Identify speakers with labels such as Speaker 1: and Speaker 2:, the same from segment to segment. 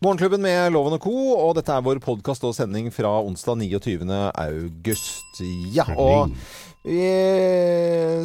Speaker 1: Morgenklubben med Loven og Co. Og dette er vår podkast og sending fra onsdag 29. august. Ja, og vi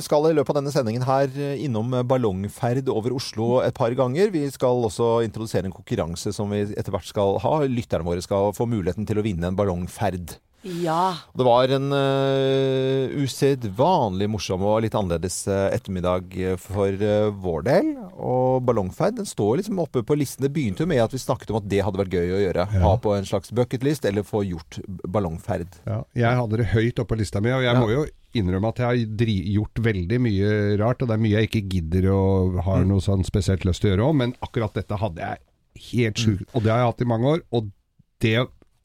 Speaker 1: skal i løpet av denne sendingen her innom ballongferd over Oslo et par ganger. Vi skal også introdusere en konkurranse som vi etter hvert skal ha. Lytterne våre skal få muligheten til å vinne en ballongferd.
Speaker 2: Ja.
Speaker 1: Og Det var en uh, usedvanlig morsom og litt annerledes eh, ettermiddag eh, for eh, vår del. Og ballongferd den står liksom oppe på listen. Det begynte jo med at vi snakket om at det hadde vært gøy å gjøre. Ha på en slags bucketlist, eller få gjort ballongferd.
Speaker 3: Ja, jeg hadde det høyt oppe på lista mi, og jeg må jo innrømme at jeg har dri gjort veldig mye rart, og det er mye jeg ikke gidder og
Speaker 1: Mm.
Speaker 3: har noe sånn spesielt lyst til å gjøre òg, men akkurat dette hadde jeg
Speaker 1: Mm.
Speaker 3: helt sjukt, og det har jeg hatt i mange år, og det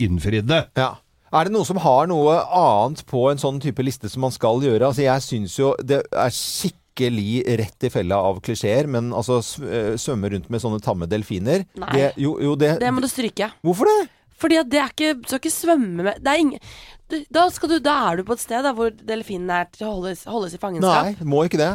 Speaker 3: innfridde.
Speaker 1: Ja. Er det noen som har noe annet på en sånn type liste som man skal gjøre? Altså, jeg syns jo det er skikkelig rett i fella av klisjeer, men altså sv- eh, svømme rundt med sånne tamme delfiner
Speaker 2: Nei.
Speaker 1: Det, jo, jo, det,
Speaker 2: Det må du stryke.
Speaker 1: Hvorfor det?
Speaker 2: Fordi at det er ikke Du skal ikke svømme med Det er ingen du, da, skal du, da er du på et sted da, hvor delfinen er til å holdes, holdes i fangenskap.
Speaker 1: Nei, må ikke det.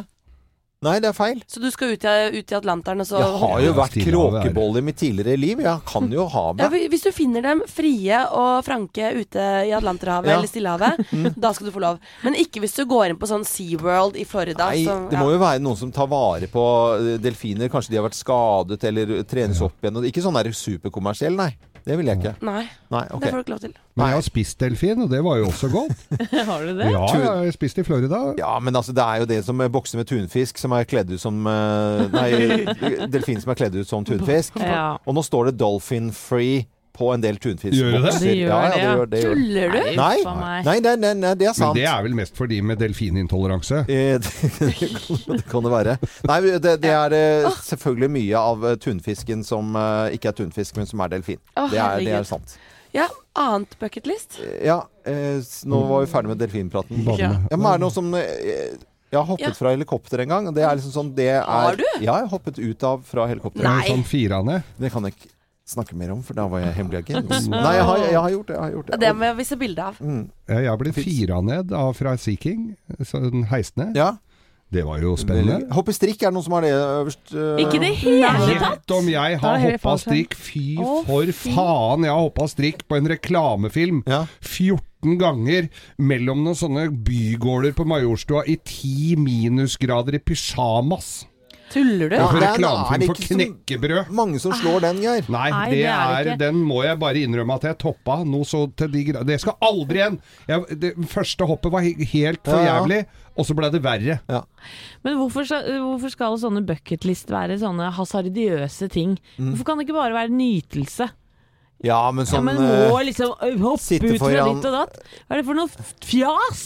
Speaker 1: Nei, det er feil.
Speaker 2: Så du skal ut i, ut i Atlanteren og så
Speaker 1: Jeg har
Speaker 3: Ja,
Speaker 1: jo vært
Speaker 3: Stillehavet er-
Speaker 1: kråkebolle i mitt tidligere liv. Jeg kan jo ha
Speaker 2: ja,
Speaker 1: meg.
Speaker 2: hvi- Hvis du finner dem frie og franke ute i Atlanterhavet
Speaker 1: Ja. Mm.
Speaker 2: eller Stillehavet, da skal du få lov. Men ikke hvis du går inn på sånn SeaWorld i Florida.
Speaker 1: Nei,
Speaker 2: som-
Speaker 1: det
Speaker 2: ja.
Speaker 1: må jo være noen som tar vare på eh, delfiner. Kanskje de har vært skadet eller trenes opp igjen. Ikke sånn der superkommersiell, nei. Det vil jeg ikke.
Speaker 2: Nei,
Speaker 1: Nei, ok.
Speaker 2: det får du ikke lov til.
Speaker 3: Men jeg har spist delfin, og det var jo også godt.
Speaker 4: Har du det?
Speaker 3: Ja, jeg har spist i Florida.
Speaker 1: Ja, men altså, det er jo det som eh, bokser med tunfisk, som er kledd ut som eh, Nei, delfin som er kledd ut som tunfisk.
Speaker 4: Ja.
Speaker 1: Og nå står det 'dolphin free' på en del tunfiskbokser.
Speaker 3: Gjør det det?
Speaker 4: Det gjør
Speaker 1: ja, ja, det
Speaker 4: det, ja.
Speaker 1: gjør det. Gjør. det.
Speaker 2: Tuller du?
Speaker 4: Nei,
Speaker 1: Nei,
Speaker 4: faen meg.
Speaker 1: nei, nei, nei, nei, det er sant.
Speaker 3: Men det er vel mest for de med delfinintoleranse.
Speaker 1: Eh, Det kan- det kan det være. Nei, det, det er eh, selvfølgelig mye av eh, tunfisken som eh, ikke er tunfisk, men som er delfin.
Speaker 2: Å,
Speaker 1: Det er, det er
Speaker 2: herregud.
Speaker 1: sant.
Speaker 2: Ja, annet bucketlist?
Speaker 1: Ja, eh, s- nå var vi ferdig med delfinpraten.
Speaker 3: Badene.
Speaker 4: Ja.
Speaker 1: Ja, men er det noe som eh, Jeg har hoppet
Speaker 2: Ja.
Speaker 1: fra helikopter en gang. og Det er liksom sånn det er,
Speaker 2: Har du?
Speaker 1: Ja, jeg har hoppet ut av fra helikopter.
Speaker 2: Nei.
Speaker 3: Sånn firane.
Speaker 1: Det kan jeg ikke snakke mer om, for da var jeg hemmelig agent. Nei, jeg har, jeg har gjort det. Jeg har gjort det.
Speaker 2: Det må jeg vise bilde av.
Speaker 1: Mm.
Speaker 3: Ja, Jeg ble fira ned av fra Sea King, sånn heisende.
Speaker 1: Ja.
Speaker 3: Det var jo spennende.
Speaker 1: Hoppe strikk, er det noen som har det øverst? eh,
Speaker 4: Ikke det hele tatt!
Speaker 3: Gjett om jeg
Speaker 4: Da
Speaker 3: har
Speaker 4: er det
Speaker 3: hoppa
Speaker 4: fallskjerm.
Speaker 3: strikk. Fy
Speaker 4: Å,
Speaker 3: for
Speaker 4: fy.
Speaker 3: faen, jeg har hoppa strikk på en reklamefilm
Speaker 1: Ja.
Speaker 3: 14 ganger mellom noen sånne bygårder på Majorstua i 10 minusgrader i pysjamas.
Speaker 2: Tuller du?
Speaker 1: Ja,
Speaker 3: For
Speaker 1: det er- er det
Speaker 3: reklamefilm for
Speaker 1: ikke som-
Speaker 3: knekkebrød.
Speaker 1: Mange som slår den, Geir.
Speaker 3: Nei,
Speaker 4: Nei,
Speaker 3: det
Speaker 4: det er
Speaker 3: er,
Speaker 4: det ikke.
Speaker 3: den må jeg bare innrømme at jeg toppa noe så til de grader. Det skal aldri igjen! Jeg, det første hoppet var he- helt for
Speaker 1: Ja, ja.
Speaker 3: jævlig, og så ble det verre.
Speaker 4: Men hvorfor, sa- hvorfor skal sånne bucketlist være sånne hasardiøse ting? Hvorfor kan det ikke bare være nytelse?
Speaker 1: Ja, men
Speaker 4: Ja,
Speaker 1: sånn
Speaker 4: men
Speaker 1: eh,
Speaker 4: må liksom ø, hoppe
Speaker 1: sitte
Speaker 4: ut fra
Speaker 1: foran-
Speaker 4: ditt og datt? Hva er det for noe f- fjas?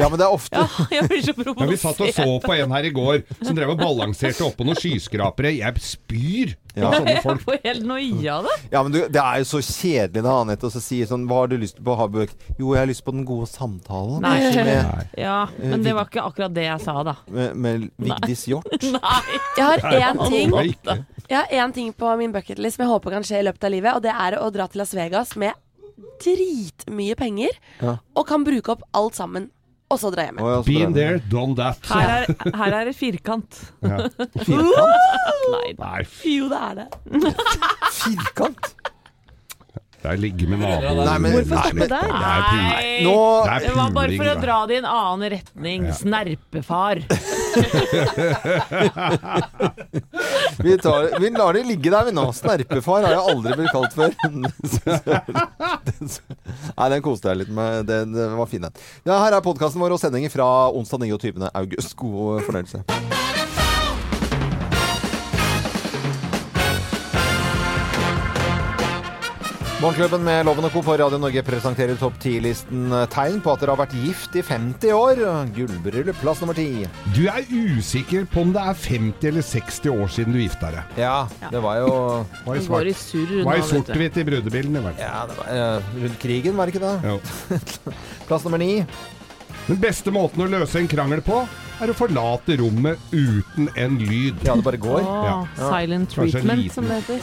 Speaker 1: Ja, men det er ofte
Speaker 4: Ja, jeg blir så
Speaker 3: Men vi satt og så
Speaker 4: provosert.
Speaker 3: på en her i går som drev og balanserte oppå noen skyskrapere. Jeg spyr av sånne
Speaker 4: Jeg
Speaker 3: folk.
Speaker 4: får helt noia av det.
Speaker 1: Ja, men du, Det er jo så kjedelig da, Anette, å si sånn Hva har du lyst på å ha bøk? Jo, jeg har lyst på den gode samtalen altså,
Speaker 4: Nei.
Speaker 1: med,
Speaker 4: Ja, men det var ikke akkurat det jeg sa, da.
Speaker 1: med, med Vigdis Hjort.
Speaker 4: Nei.
Speaker 2: Jeg har én ting
Speaker 3: Nei, ikke.
Speaker 2: Jeg har én ting på min bucketlist som jeg håper kan skje i løpet av livet, og det er å dra til Las Vegas med dritmye penger
Speaker 1: Ja.
Speaker 2: og kan bruke opp alt sammen, og så dra hjem.
Speaker 1: Å, ja, så
Speaker 3: Been
Speaker 1: bra.
Speaker 3: there, done that.
Speaker 4: Her er, her er det firkant.
Speaker 3: Ja.
Speaker 4: Nei,
Speaker 3: Nei, f-
Speaker 2: Jo, det er det.
Speaker 1: Firkant?
Speaker 3: der ligger med naboen.
Speaker 1: Nei, men- Hvorfor stoppe
Speaker 3: men-
Speaker 4: der?
Speaker 3: Det er pul-
Speaker 4: Nei.
Speaker 1: Nå
Speaker 3: det er
Speaker 4: Det var bare for å
Speaker 3: puling, da.
Speaker 4: dra det i en annen retning. Snerpefar.
Speaker 1: vi, tar, vi lar det ligge der, vi nå. Snerpefar har jeg aldri blitt kalt før. Nei, den koste jeg litt med. Den, den var fin, den. Ja, her er podkasten vår og sendinger fra onsdag 29. august. God fornøyelse. Morgenklubben med Loven og Co. på Radio Norge presenterer topp 10-listen tegn på at dere har vært gift i 50 år. Gullbryllup, plass nummer 10.
Speaker 3: Du er usikker på om det er 50 eller 60 år siden du gifta deg.
Speaker 1: Ja, det var jo
Speaker 3: Var i
Speaker 4: Den går i
Speaker 3: svart-
Speaker 4: surr
Speaker 3: var i
Speaker 4: nå, vet du.
Speaker 3: sort-hvitt i brudebilen i hvert fall.
Speaker 1: Ja, det var eh, rundt krigen, var det ikke det?
Speaker 3: Jo.
Speaker 1: Plass nummer ni.
Speaker 3: Den beste måten å løse en krangel på, er å forlate rommet uten en lyd.
Speaker 1: Ja, det bare går.
Speaker 4: Åh,
Speaker 3: Ja.
Speaker 4: silent
Speaker 3: Kanskje en
Speaker 4: treatment,
Speaker 3: liten-
Speaker 4: som det heter.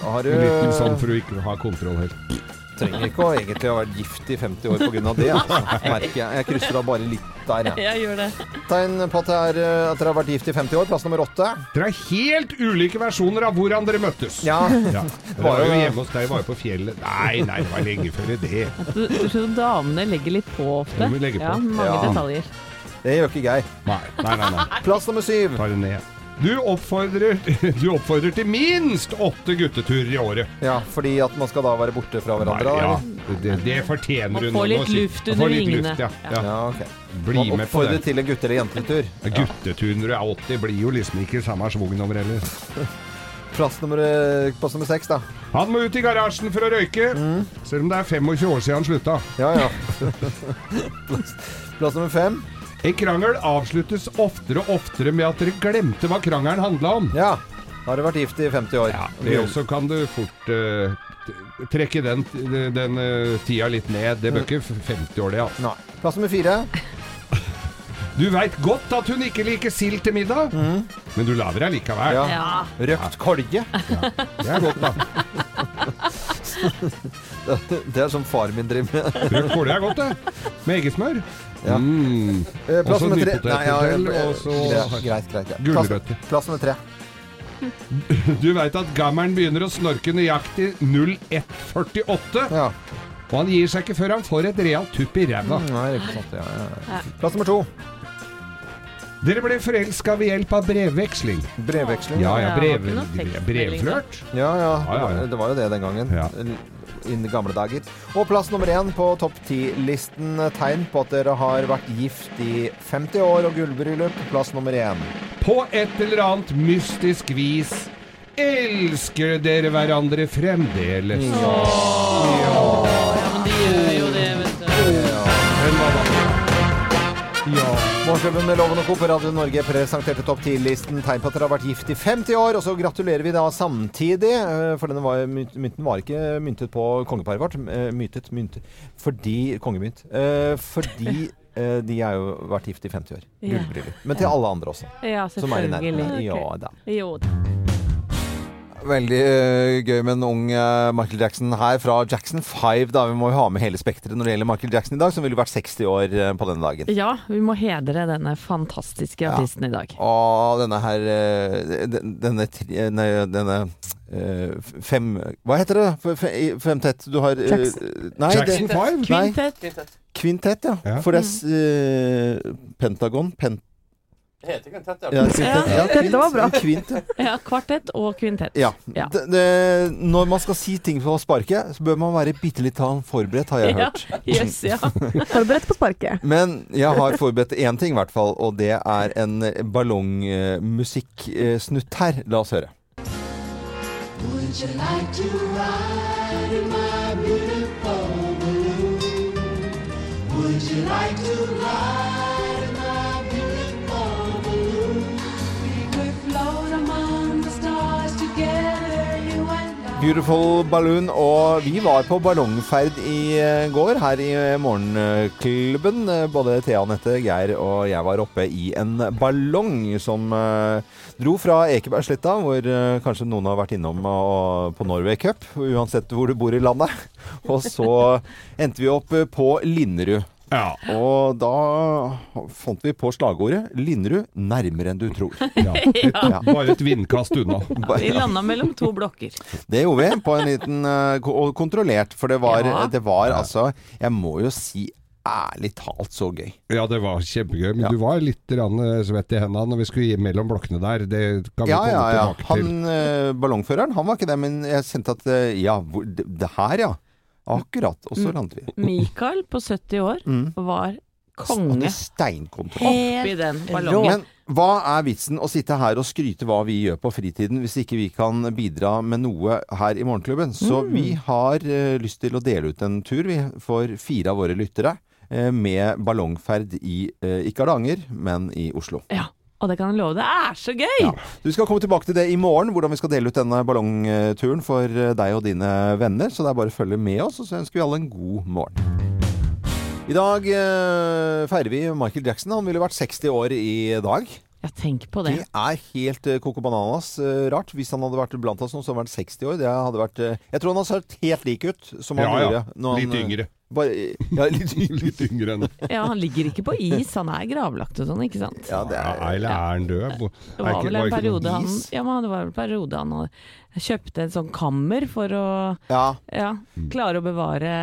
Speaker 1: Har du
Speaker 3: sånn Litt sånn for å ikke ha kontroll helt.
Speaker 1: trenger ikke å egentlig ha vært gift i 50 år pga. det. Altså, merker jeg. jeg krysser da bare litt der, jeg.
Speaker 4: Jeg gjør det.
Speaker 1: Tegn på at, det er, eh, at dere har vært gift i 50 år. Plass nummer åtte.
Speaker 3: Dere er helt ulike versjoner av hvordan dere møttes.
Speaker 1: Ja.
Speaker 3: Ja. Det var jo hjemme hos deg, var jo på fjellet. Nei, nei, det var lenge før det.
Speaker 4: Du, du tror damene legger litt på ofte.
Speaker 3: De legger på.
Speaker 4: Ja, mange
Speaker 1: Ja.
Speaker 4: detaljer.
Speaker 1: Det gjør ikke Geir.
Speaker 3: Nei, nei, nei. nei.
Speaker 1: Plass nummer syv.
Speaker 3: Ta det ned. Du oppfordrer, du oppfordrer til minst åtte gutteturer i året.
Speaker 1: Ja, fordi at man skal da være borte fra
Speaker 3: Nei,
Speaker 1: hverandre.
Speaker 3: ja,
Speaker 1: eller?
Speaker 3: det, det fortjener
Speaker 4: Man
Speaker 3: hun.
Speaker 4: får
Speaker 3: nå
Speaker 4: litt
Speaker 3: å si.
Speaker 4: luft
Speaker 3: Man får
Speaker 4: under
Speaker 3: litt
Speaker 4: vingene.
Speaker 3: luft, ja. ja.
Speaker 1: Ja, ok.
Speaker 3: Bli
Speaker 1: Man
Speaker 3: med på
Speaker 1: oppfordrer
Speaker 3: det.
Speaker 1: til en gutte- eller jentetur.
Speaker 3: Guttetur når du er 80 blir jo liksom ikke samme svogen over heller.
Speaker 1: Plass nummer, eh, plass nummer seks, da.
Speaker 3: Han må ut i garasjen for å røyke,
Speaker 1: Mm.
Speaker 3: selv om det er 25 år siden han slutta.
Speaker 1: Ja, ja. Plass, plass nummer fem.
Speaker 3: En krangel avsluttes oftere og oftere med at dere glemte hva krangelen handla om.
Speaker 1: Ja. Da har du vært gift i 50 år.
Speaker 3: Ja, det også kan du fort eh, t- trekke den, den eh, tida litt ned.
Speaker 1: Mm.
Speaker 3: Det bør ikke f- 50 år, det. Altså.
Speaker 1: Nei. Plass nummer fire.
Speaker 3: Du veit godt at hun ikke liker sild til middag,
Speaker 1: Mm.
Speaker 3: men du lager deg likevel.
Speaker 1: Ja.
Speaker 4: Ja.
Speaker 1: Røkt kolje.
Speaker 3: Det er godt, da.
Speaker 1: Det er som far min driver med.
Speaker 3: Røkt kål er godt, det. Med eggesmør.
Speaker 1: Ja.
Speaker 3: Mm.
Speaker 1: Eh, Plass
Speaker 3: Også
Speaker 1: nummer tre.
Speaker 3: nypoteter til, og så-
Speaker 1: greit, greit, greit. Ja.
Speaker 3: Gulrøtter.
Speaker 1: Plass, plass nummer tre.
Speaker 3: Du veit at gammelen begynner å snorke nøyaktig 0148,
Speaker 1: Ja.
Speaker 3: og han gir seg ikke før han får et realt tupp i ræva.
Speaker 1: Mm, Nei, det er ikke sant. Ja, ja, ja. Plass nummer to.
Speaker 3: Dere ble forelska ved hjelp av brevveksling.
Speaker 1: Brevveksling. Ja,
Speaker 3: Ja, ja,
Speaker 4: Ja,
Speaker 3: brev,
Speaker 4: det var ikke noe
Speaker 3: brevflørt.
Speaker 1: ja.
Speaker 3: Ja, ja, ja.
Speaker 1: Det var jo det den gangen.
Speaker 3: Ja.
Speaker 1: I de gamle dager. Og plass nummer én på topp ti-listen. Tegn på at dere har vært gift i 50 år og gullbryllup. Plass nummer én.
Speaker 3: På et eller annet mystisk vis elsker dere hverandre fremdeles.
Speaker 4: Ja, men de gjør jo det, vet du.
Speaker 3: Ja.
Speaker 1: Morgenklubben med Loven og Co. på Radio Norge presenterte topp 10-listen tegn på at dere har vært gift i 50 år. Og så gratulerer vi da samtidig, eh, for denne var, mynt- mynten var ikke myntet på kongeparet vårt. eh, Myntet, myntet Fordi Kongemynt. Eh, Fordi eh, de har jo vært gift i 50 år.
Speaker 4: Ja.
Speaker 1: Gullbryllup. Men til alle andre også,
Speaker 4: Ja,
Speaker 1: som er i nærheten.
Speaker 4: selvfølgelig.
Speaker 1: Ja da.
Speaker 4: Jo da.
Speaker 1: Veldig eh, gøy med en ung eh, Michael Jackson her fra Jackson 5. Da. Vi må jo ha med hele spekteret når det gjelder Michael Jackson i dag, som ville vært 60 år eh, på denne dagen.
Speaker 4: Ja, vi må hedre denne fantastiske artisten i dag.
Speaker 1: Og denne her eh, den- Denne, tri- nei, denne eh, fem Hva heter det? F- f- i- Femtett? Du har eh,
Speaker 4: Jackson.
Speaker 1: Nei,
Speaker 3: Jackson
Speaker 1: det,
Speaker 3: 5?
Speaker 1: nei,
Speaker 4: Kvintett.
Speaker 1: kvintett, ja.
Speaker 3: Ja.
Speaker 1: For det er s- eh, Pentagon pen,
Speaker 5: Det heter Quintet, ja.
Speaker 1: ja, kvintett, ja,
Speaker 4: dette
Speaker 1: kvint,
Speaker 4: var bra.
Speaker 1: Kvint, ja.
Speaker 4: Ja, kvartett og kvintett.
Speaker 1: ja.
Speaker 4: Ja.
Speaker 1: D- det- når man skal si ting på sparket, så bør man være bitte litt forberedt, har jeg
Speaker 4: Ja,
Speaker 1: hørt.
Speaker 4: yes, ja.
Speaker 6: Forberedt på sparket.
Speaker 1: Men jeg har forberedt én ting, i hvert fall, og det er en ballongmusikksnutt her. La oss høre.
Speaker 7: Would you like to ride in my beautiful balloon? Would you like to ride in my beautiful balloon? We could float among the stars together, you and I.
Speaker 1: Beautiful Balloon, og vi var på ballongferd i eh, går her i eh, Morgenklubben. Eh, Både Thea, Anette, Geir og jeg var oppe i en ballong som eh, dro fra Ekebergsletta, hvor eh, kanskje noen har vært innom og, på Norway Cup, uansett hvor du bor i landet. Og så endte vi opp eh, på Linderud.
Speaker 3: Ja.
Speaker 1: Og da fant vi på slagordet 'Linderud nærmere enn du tror'.
Speaker 3: ja. Bare et vindkast unna.
Speaker 4: Vi landa mellom to blokker.
Speaker 1: Det gjorde vi, på en liten eh, ko- og kontrollert. For det var,
Speaker 4: Ja.
Speaker 1: det var altså Jeg må jo si ærlig talt så gøy.
Speaker 3: Ja, det var kjempegøy, men
Speaker 1: Ja.
Speaker 3: du var litt grann, eh, svett i hendene når vi skulle gi- mellom blokkene der. Det kan vi
Speaker 1: Ja,
Speaker 3: komme
Speaker 1: ja, ja.
Speaker 3: tilbake til.
Speaker 1: Han eh, ballongføreren, han var ikke det, men jeg kjente at eh, Ja, hvor, det, det her, ja. Akkurat. Og så landet vi.
Speaker 4: Mikael på 70 år
Speaker 1: Mm.
Speaker 4: var
Speaker 1: Hadde
Speaker 4: konge
Speaker 2: Eh,
Speaker 1: Steinkontroll.
Speaker 4: oppi den ballongen.
Speaker 1: Men hva er vitsen å sitte her og skryte hva vi gjør på fritiden, hvis ikke vi kan bidra med noe her i Morgenklubben? Så vi har eh, lyst til å dele ut en tur vi for fire av våre lyttere. eh, Med ballongferd i eh, ikke Hardanger, men i Oslo.
Speaker 4: Ja, og det kan jeg love, det er så gøy!
Speaker 1: Du skal komme tilbake til det i morgen, hvordan vi skal dele ut denne ballongturen for eh, deg og dine venner. Så det er bare å følge med oss, og så ønsker vi alle en god morgen. I dag eh, feirer vi Michael Jackson. Han ville vært 60 år i dag.
Speaker 4: Ja, tenk på det.
Speaker 1: Det er helt uh, Coco Bananas eh, rart. Hvis han hadde vært blant oss nå, så hadde han vært 60 år. Det hadde vært, eh, jeg tror han har sett helt lik ut som han
Speaker 3: Ja, ja.
Speaker 1: gjorde. når han,
Speaker 3: Litt
Speaker 1: eh,
Speaker 3: yngre.
Speaker 1: Bare, ja, litt yngre.
Speaker 3: Litt yngre enn
Speaker 4: Ja, han ligger ikke på is, han er gravlagt og sånn, ikke sant?
Speaker 1: Ja, det
Speaker 3: ja,
Speaker 1: er,
Speaker 3: Eller er han død? Bo-
Speaker 4: Det
Speaker 3: er
Speaker 4: var
Speaker 3: ikke-
Speaker 4: vel en
Speaker 3: ikke noe-
Speaker 4: periode han,
Speaker 1: is?
Speaker 4: ja, men det var vel en periode han hadde- kjøpte et sånn kammer for å
Speaker 1: ja.
Speaker 4: ja, klare å bevare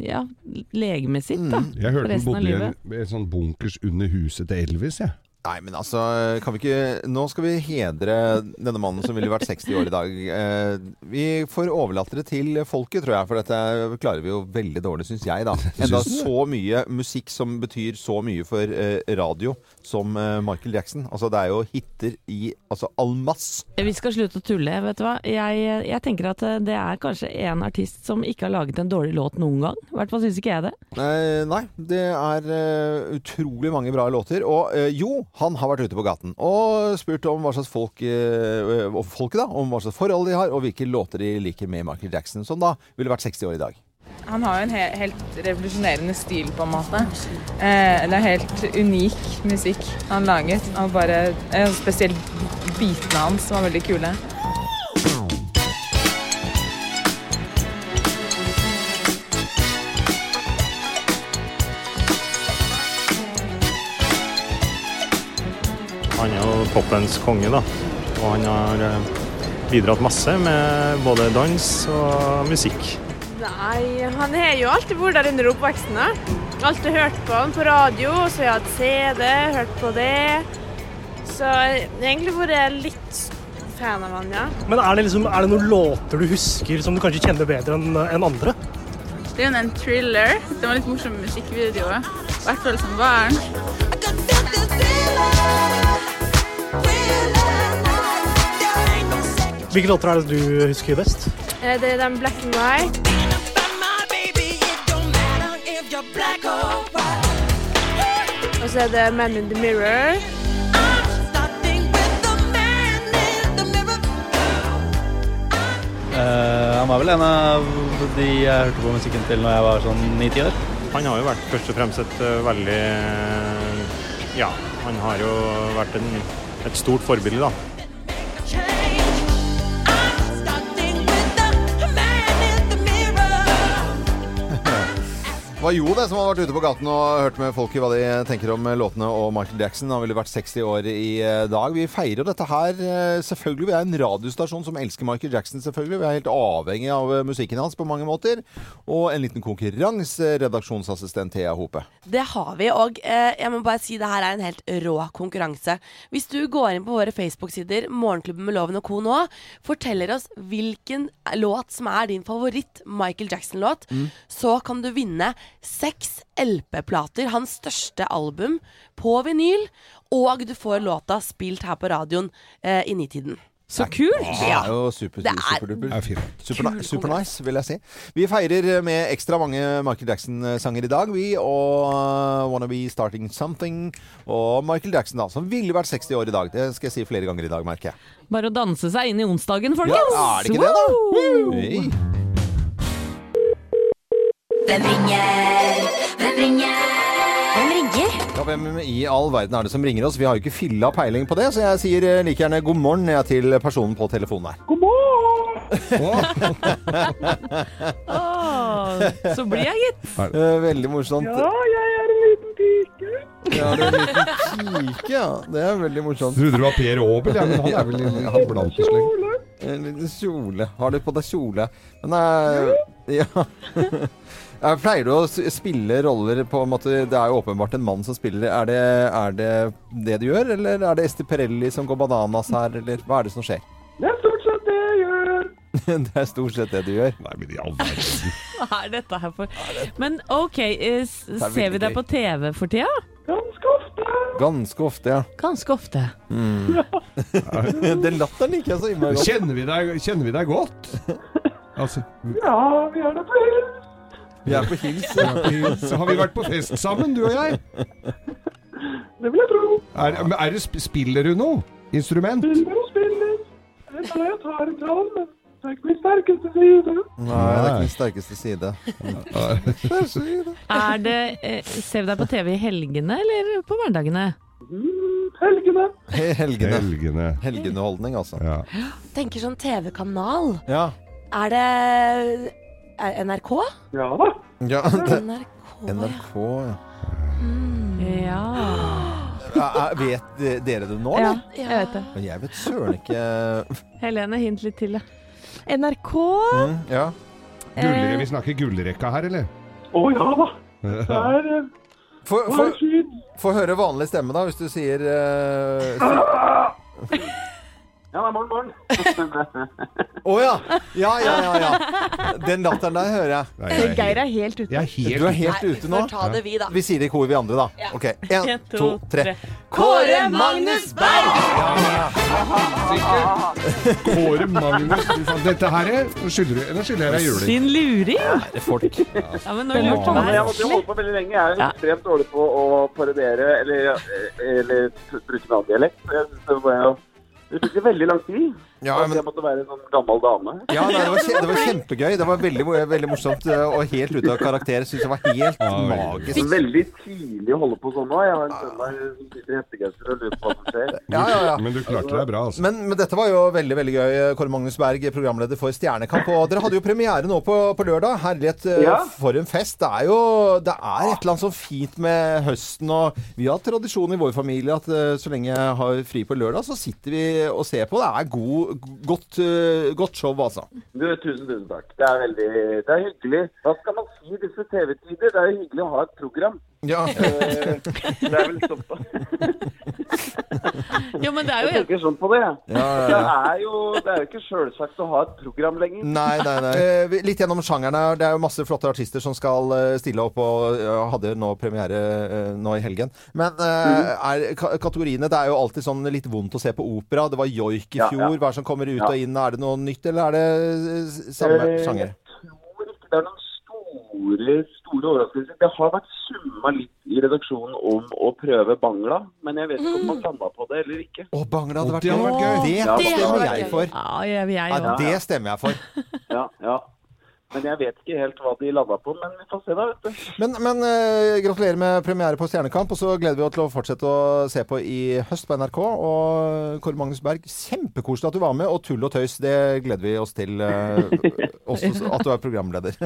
Speaker 4: ja, legemet sitt, da.
Speaker 3: Jeg hørte han
Speaker 4: resten av
Speaker 3: bodde i en, en sånn bunkers under huset til Elvis, jeg.
Speaker 1: Nei, men altså kan vi ikke, Nå skal vi hedre denne mannen som ville vært 60 år i dag. Eh, vi får overlate det til folket, tror jeg, for dette klarer vi jo veldig dårlig, syns jeg, da. Enda
Speaker 3: Syns du det?
Speaker 1: så mye musikk som betyr så mye for eh, radio, som eh, Michael Jackson. Altså, det er jo hiter i altså almass.
Speaker 4: Vi skal slutte å tulle, vet du hva. Jeg, jeg tenker at eh, det er kanskje en artist som ikke har laget en dårlig låt noen gang. I hvert fall syns ikke jeg det.
Speaker 1: Eh, nei, det er eh, utrolig mange bra låter. Og eh, jo, han har vært ute på gaten og spurt om hva slags folk eh, og folket da, om hva slags forhold de har, og hvilke låter de liker med Michael Jackson, som da ville vært 60 år i dag.
Speaker 6: Han har jo en he helt revolusjonerende stil, på en måte. Eh, det er helt unik musikk han laget. Og bare eh, Spesielt bitene hans var veldig kule.
Speaker 8: Han er jo popens konge, da. Og han har eh, bidratt masse med både dans og musikk.
Speaker 9: Nei, han har jo alltid vært der under oppveksten. da. Alltid hørt på han på radio, og så har jeg hatt CD, hørt på det. Så jeg har egentlig vært jeg litt fan av han, ja.
Speaker 10: Men er det, liksom, er det noen låter du husker som du kanskje kjenner bedre enn enn andre?
Speaker 6: Det er jo en thriller. Det var litt morsom musikkvideo. I hvert fall som barn.
Speaker 10: Hvilke låter er det du husker best?
Speaker 9: Eh, Det er den Black and White. Og så er det Man in the Mirror.
Speaker 5: Eh, han var vel en av de jeg hørte på musikken til når jeg var sånn 9-10 år.
Speaker 8: Han har jo vært først og fremst et eh, veldig eh, Ja, han har jo vært en, et stort forbilde, da.
Speaker 1: Det var Jo det som hadde vært ute på gaten og hørt med folket hva de tenker om låtene og Michael Jackson. Han ville vært 60 år i eh, dag. Vi feirer dette her, eh, selvfølgelig. Vi er en radiostasjon som elsker Michael Jackson, selvfølgelig. Vi er helt avhengig av eh, musikken hans på mange måter. Og en liten konkurranse, redaksjonsassistent Thea Hope.
Speaker 2: Det har vi, og eh, jeg må bare si det her er en helt rå konkurranse. Hvis du går inn på våre Facebook-sider, Morgenklubben med Loven og co. nå, forteller oss hvilken låt som er din favoritt Michael Jackson-låt, så kan du vinne seks LP-plater, hans største album, på vinyl, og du får låta spilt her på radioen eh, i nitiden.
Speaker 4: Så kult!
Speaker 1: Det er jo super,
Speaker 2: Det er-
Speaker 1: superduper.
Speaker 3: Det er fint.
Speaker 1: Super, super nice, vil jeg si. Vi feirer med ekstra mange Michael Jackson-sanger i dag, vi. Og uh, Wanna Be Starting Something. Og Michael Jackson, da, som ville vært 60 år i dag. Det skal jeg si flere ganger i dag, merker jeg.
Speaker 4: Bare å danse seg inn i onsdagen,
Speaker 1: Ja,
Speaker 4: folkens!
Speaker 1: er det ikke det, da?
Speaker 4: Woo!
Speaker 1: Hey.
Speaker 7: Hvem ringer? Hvem ringer? Hvem ringer?
Speaker 1: Ja, hvem i all verden er det som ringer oss? Vi har jo ikke filla peiling på det, så jeg sier eh, like gjerne god morgen jeg, til personen på telefonen her.
Speaker 4: Åh, så blir jeg gitt.
Speaker 1: Eh, Veldig morsomt. Ja, jeg er en liten pike. Ja, du er en liten pike, ja. Det er veldig morsomt.
Speaker 3: Trodde det var Per Aabel, ja, men han er vel i- han blant oss lenger.
Speaker 1: En liten kjole. Har du på deg kjole? Men eh, ja. Jeg pleier du å s- spille roller på en måte Det er jo åpenbart en mann som spiller. Er det er det, det du gjør, eller er det Esti Perelli som går bananas her, eller hva er det som skjer? Det er stort sett det jeg gjør. det er stort sett det du gjør.
Speaker 3: Nei, men i all verden.
Speaker 4: Hva er dette her for Men OK, eh, s-
Speaker 1: er
Speaker 4: ser vi
Speaker 1: veldig
Speaker 4: deg på TV for tida?
Speaker 1: Ganske ofte, ja.
Speaker 4: Ganske ofte.
Speaker 1: Den latteren liker jeg så innmari godt.
Speaker 3: Kjenner vi deg, kjenner vi deg godt? Altså,
Speaker 1: Vi er på hils.
Speaker 3: så har vi vært på fest sammen, du og jeg?
Speaker 10: Det vil jeg tro.
Speaker 3: Er, men er det, sp- spiller du noe? Instrument?
Speaker 10: Spiller og spiller. Jeg tar en kran, men det er ikke min sterkeste side.
Speaker 1: Nei, det er ikke min sterkeste side.
Speaker 4: Er det, eh, ser vi deg på TV i helgene eller på hverdagene?
Speaker 10: Mm, Helgene!
Speaker 1: Helgene.
Speaker 3: Helgene.
Speaker 1: Helgeneholdning, altså.
Speaker 3: Ja.
Speaker 10: Eh.
Speaker 2: Tenker sånn TV-kanal.
Speaker 1: ja.
Speaker 2: Er det er NRK?
Speaker 10: Ja da.
Speaker 1: det,
Speaker 2: NRK,
Speaker 1: NRK, ja.
Speaker 2: Ja.
Speaker 1: Er- er- eh, Vet de- dere det nå,
Speaker 4: Ja,
Speaker 1: eller?
Speaker 4: jeg vet det.
Speaker 1: Men jeg vet søren ikke
Speaker 4: Helene, hint litt til, da. NRK
Speaker 1: mm, Ja.
Speaker 3: Gullre, vi snakker gullrekka her, eller?
Speaker 10: Å ja da. Det er eh,
Speaker 1: Få
Speaker 10: det
Speaker 1: få-
Speaker 10: er fint.
Speaker 1: få høre vanlig stemme, da, hvis du sier eh, si-
Speaker 10: Ja, det er morgen, morgen.
Speaker 1: Å ja. ja! Ja, ja, ja. Den latteren der hører jeg.
Speaker 3: Nei, jeg er helt-
Speaker 4: er helt ute.
Speaker 3: jeg er helt
Speaker 1: Du er helt
Speaker 2: Nei,
Speaker 1: ute
Speaker 2: vi
Speaker 1: nå.
Speaker 2: får ta det, vi, da.
Speaker 1: Vi sier det i kor, vi andre, da. OK. Én,
Speaker 4: En,
Speaker 1: to,
Speaker 4: to,
Speaker 1: tre.
Speaker 2: Kåre Magnus Berg!
Speaker 3: Kåre Magnus, du faen. Dette her er- nå skylder du- nå skylder jeg deg juling.
Speaker 4: Sin luring!
Speaker 1: Det er folk.
Speaker 4: Ja, men nå lurte
Speaker 10: Nei, jeg
Speaker 4: han
Speaker 10: måtte jo holde på veldig lenge. Jeg er jo
Speaker 4: Ja.
Speaker 10: ekstremt dårlig på å parodiere eller, eller bruke navndialekt. Så jeg synes det var jo det tok jo veldig lang tid.
Speaker 1: Ja,
Speaker 10: Altså,
Speaker 1: men,
Speaker 10: Jeg måtte være en sånn gammel dame.
Speaker 1: ja nei, det, var, kje- det var kjempegøy. Det var veldig, veldig morsomt eh, og helt ute av karakter. Syns det var helt
Speaker 3: veldig
Speaker 1: magisk.
Speaker 10: Veldig tidlig å holde på sånn nå. Jeg har en sønn der som sitter i hettegenser og lurer på hva som skjer.
Speaker 1: Ja, ja, ja.
Speaker 3: Men du klarte deg bra, altså.
Speaker 1: Men, men dette var jo veldig veldig gøy, Kåre Magnus Berg, programleder for Stjernekamp. Og dere hadde jo premiere nå på, på lørdag. Herlighet, eh,
Speaker 10: Ja.
Speaker 1: for en fest. Det er jo det er et eller annet sånn fint med høsten. Og vi har tradisjon i vår familie at eh, så lenge jeg har fri på lørdag, så sitter vi og ser på. Det er god, godt, eh, godt show, altså.
Speaker 10: Du, tusen, tusen takk. Det er veldig det er hyggelig. Hva skal man si i disse TV-tider? Det er jo hyggelig å ha et program.
Speaker 1: Ja.
Speaker 10: Eh, Det er vel såpass.
Speaker 4: Jo, men det er
Speaker 10: Jeg
Speaker 4: jo
Speaker 10: tenker sånn på det, jeg.
Speaker 1: Ja, ja,
Speaker 10: Det
Speaker 1: ja.
Speaker 10: er jo, det er jo ikke sjølsagt å ha et program lenger.
Speaker 1: Nei, nei, nei. Eh, vi- Litt gjennom sjangeren her. Det er jo masse flotte artister som skal eh, stille opp, og eh, hadde nå premiere eh, nå i helgen. Men eh, er, ka kategoriene Det er jo alltid sånn litt vondt å se på opera. Det var joik i
Speaker 10: Ja,
Speaker 1: fjor.
Speaker 10: ja.
Speaker 1: Hva er det som kommer ut
Speaker 10: Ja.
Speaker 1: og inn? Er det noe nytt, eller er det eh, samme
Speaker 10: Eh,
Speaker 1: sjanger?
Speaker 10: tror ikke det er noen store, store overraskelser. Det har vært summa litt i redaksjonen om å prøve Bangla, men jeg vet ikke om man landa på det eller ikke.
Speaker 1: Å, Bangla hadde
Speaker 3: Å,
Speaker 1: vært
Speaker 3: det hadde vært
Speaker 1: Det
Speaker 10: Ja, det
Speaker 1: stemmer
Speaker 10: hadde vært
Speaker 1: jeg
Speaker 10: gøy.
Speaker 1: for.
Speaker 4: Ja, jeg, jeg,
Speaker 1: Ja,
Speaker 4: også.
Speaker 1: det stemmer jeg for.
Speaker 10: Ja, ja. Men jeg vet ikke helt hva de landa på, men vi får se da, vet du.
Speaker 1: Men, men eh, gratulerer med premiere på Stjernekamp, og så gleder vi oss til å fortsette å se på i høst på NRK. Og Kåre Magnus Berg, kjempekoselig at du var med, og tull og tøys, det gleder vi oss til. eh, også at du er programleder.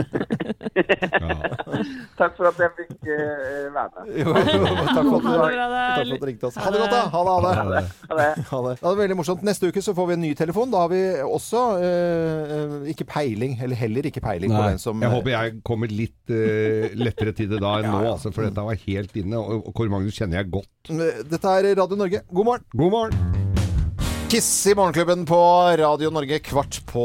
Speaker 10: Takk for at jeg fikk eh, være med.
Speaker 1: Jo, jo, takk for at du,
Speaker 4: Ha det bra,
Speaker 1: takk for at du ringte oss. Ha det godt, da! Ha det, ha det.
Speaker 10: Ha det.
Speaker 1: Ha det. Ja, det var veldig morsomt. Neste uke så får vi en ny telefon. Da har vi også eh, eh, ikke peiling, eller heller ikke peiling på
Speaker 3: Nei,
Speaker 1: den som
Speaker 3: jeg håper jeg kommer litt eh, lettere til det da enn nå, altså, for dette var helt inne. Og og Kåre Magnus kjenner jeg godt.
Speaker 1: Dette er Radio Norge. God morgen!
Speaker 3: God morgen!
Speaker 1: Kiss i Morgenklubben på Radio Norge kvart på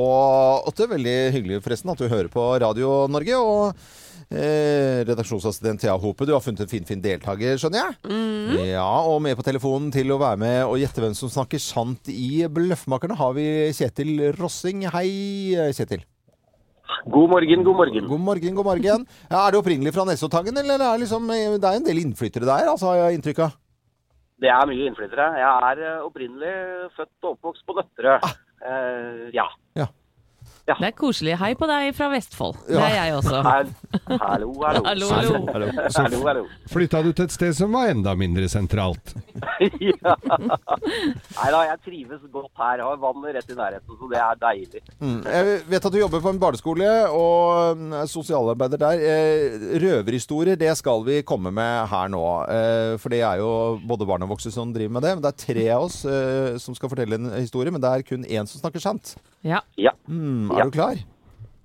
Speaker 1: åtte. Veldig hyggelig forresten at du hører på Radio Norge. Og eh, redaksjonsassistent Thea Hope, du har funnet en finfin fin deltaker, skjønner jeg? Ja, Og med på telefonen til å være med og gjette hvem som snakker sant i Bløffmakerne, har vi Kjetil Rossing. Hei, Kjetil.
Speaker 10: God morgen, god morgen.
Speaker 1: God morgen, god morgen. Ja, er du opprinnelig fra Nessotangen, eller er det, liksom, det er en del innflyttere der, altså, har jeg inntrykk av?
Speaker 10: Det er mye innflyttere. Jeg er eh, opprinnelig født og oppvokst på Nøtterøy.
Speaker 4: Ah.
Speaker 10: Eh, ja.
Speaker 4: det er koselig. Hei på deg fra Vestfold. Det
Speaker 1: Ja.
Speaker 4: er jeg også.
Speaker 10: Hel- Hallo, hallo.
Speaker 4: Hallo, hallo.
Speaker 10: Hallo, hallo.
Speaker 3: Flytta du til et sted som var enda mindre sentralt?
Speaker 10: ja. Nei da, jeg trives godt her. Jeg har vannet rett i nærheten, så det er deilig.
Speaker 1: Mm. Jeg vet at du jobber på en barneskole og mm, er sosialarbeider der. Eh, Røverhistorier, det skal vi komme med her nå. Eh, For det er jo både barn og voksne som driver med det. Men det er tre av oss eh, som skal fortelle en historie, men det er kun én som snakker sant.
Speaker 4: Ja.
Speaker 10: Ja,
Speaker 1: Mm, er
Speaker 10: Ja.
Speaker 1: du klar?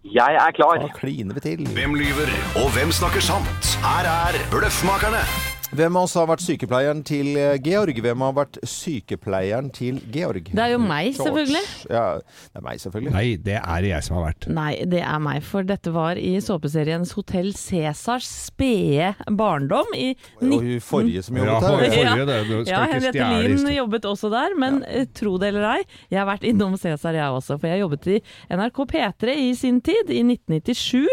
Speaker 10: jeg er klar.
Speaker 1: Da kliner vi til.
Speaker 11: Hvem lyver, og hvem snakker sant? Her er Bløffmakerne.
Speaker 1: Hvem av oss har vært sykepleieren til eh, Georg? Hvem har vært sykepleieren til Georg?
Speaker 4: Det er jo meg,
Speaker 1: George.
Speaker 4: selvfølgelig.
Speaker 1: Ja, det er meg, selvfølgelig.
Speaker 3: Nei, det er det jeg som har vært.
Speaker 4: Nei, det er meg, for dette var i såpeseriens Hotell Cæsars spede barndom i
Speaker 1: Og
Speaker 4: 19...
Speaker 1: hun forrige som
Speaker 3: Ja,
Speaker 1: jobbet
Speaker 3: for-
Speaker 1: her.
Speaker 3: forrige, det. Du
Speaker 4: Ja,
Speaker 3: skal ikke
Speaker 4: Henriette
Speaker 3: stjele
Speaker 4: Lien
Speaker 3: historien.
Speaker 4: jobbet også der, men eh, tro det eller ei, jeg har vært innom Cæsar jeg også, for jeg jobbet i NRK P3 i sin tid, i 1997,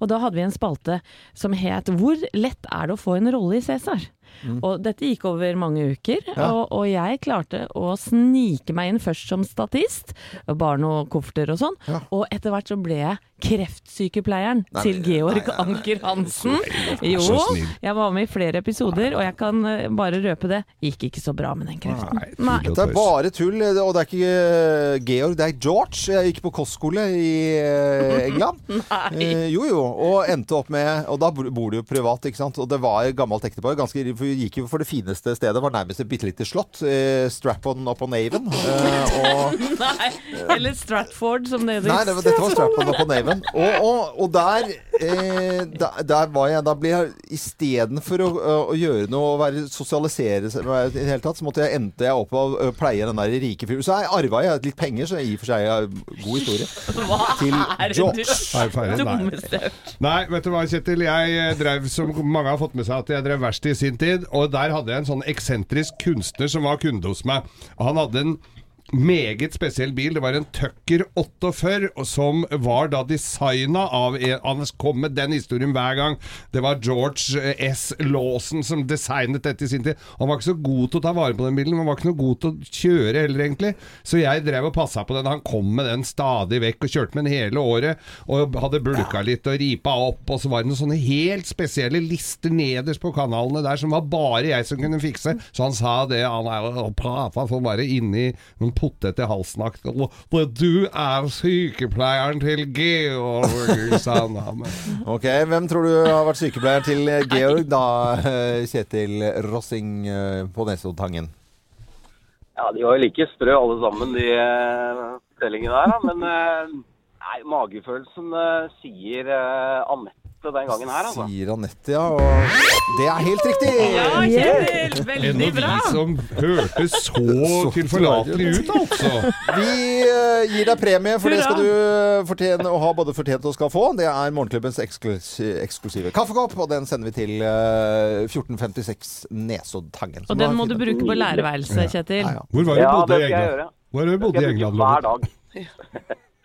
Speaker 4: og da hadde vi en spalte som het Hvor lett er det å få en rolle i Cæsar?
Speaker 1: Mm.
Speaker 4: Og dette gikk over mange uker,
Speaker 1: Ja.
Speaker 4: og, og jeg klarte å snike meg inn først som statist, bare noen kofferter og sånn, og etter hvert så ble jeg kreftsykepleieren
Speaker 2: Nei,
Speaker 4: til
Speaker 2: men-
Speaker 4: Georg Anker Hansen.
Speaker 2: snill.
Speaker 4: Jo,
Speaker 2: Så snill.
Speaker 4: jeg var med i flere episoder, og jeg kan eh, bare røpe det, gikk ikke så bra med den kreften. Nei.
Speaker 1: Det er bare tull, og det er ikke eh, Georg, det er George. Jeg gikk på kostskole i eh, England. Eh, jo, jo. Og endte opp med Og da bor bor du jo privat, ikke sant. Og det var et gammelt ektepar. ganske- for Vi gikk jo for det fineste stedet. Var nærmest et bitte lite slott. Eh, Strap-on upon Aven. Eh, og
Speaker 4: Nei, eller Stratford som det heter.
Speaker 1: Nei, det var, dette var strap-on på neven. Og, og, og der, eh, der, der var jeg Da ble jeg istedenfor å, å gjøre noe og være, sosialisere seg være i det hele tatt, så måtte jeg endte jeg opp med å pleie den der rike fyren. Så jeg arva jeg litt penger, så i og for seg er god historie.
Speaker 4: Hva
Speaker 1: Til
Speaker 4: er det
Speaker 1: George.
Speaker 4: du
Speaker 3: Er ferdig? Nei.
Speaker 4: dummeste?
Speaker 3: Nei, vet du hva Kjetil, jeg eh, drev som mange har fått med seg at jeg drev verst i sin tid, og der hadde jeg en sånn eksentrisk kunstner som var kunde hos meg. Og han hadde en meget spesiell bil, det var en Tucker 48, og som var da designa av en- Han kom med den historien hver gang. Det var George eh, S. Lawson som designet dette i sin tid. Han var ikke så god til å ta vare på den bilen, men han var ikke noe god til å kjøre heller, egentlig. Så jeg drev og passa på den. Han kom med den stadig vekk og kjørte med den hele året. Og hadde bulka litt og ripa opp, og så var det noen sånne helt spesielle lister nederst på kanalene der som var bare jeg som kunne fikse. Så han sa det, han er og prata for bare inni noen potete halsnakt. For du er sykepleieren til Georg, sa han da. Men
Speaker 1: Ok, Hvem tror du har vært sykepleier til Georg, da, eh, Kjetil Rossing eh, på Nesoddtangen?
Speaker 12: Ja, de var jo like strø alle sammen, de eh, fortellingene der. Da. Men eh, nei, magefølelsen eh, sier eh, Anette den gangen her, altså.
Speaker 1: Sier Anette, ja. Og det er helt riktig!
Speaker 12: Ja, Kjetil, veldig
Speaker 3: Ennå de som hørtes så tilforlatelig ut, altså.
Speaker 1: Vi eh, gir deg premie, for det
Speaker 3: Hurra!
Speaker 1: skal du eh, fortjene å ha både fortjent og skal få. Det er morgenklubbens eksklus eksklusive kaffekopp, og den sender vi til eh, 1456 Nesoddtangen.
Speaker 4: Og den må du bruke på lærerværelset, Kjetil.
Speaker 3: Hvor var det du bodde i England? Hvor var det du bodde i England? Loven?
Speaker 12: dag.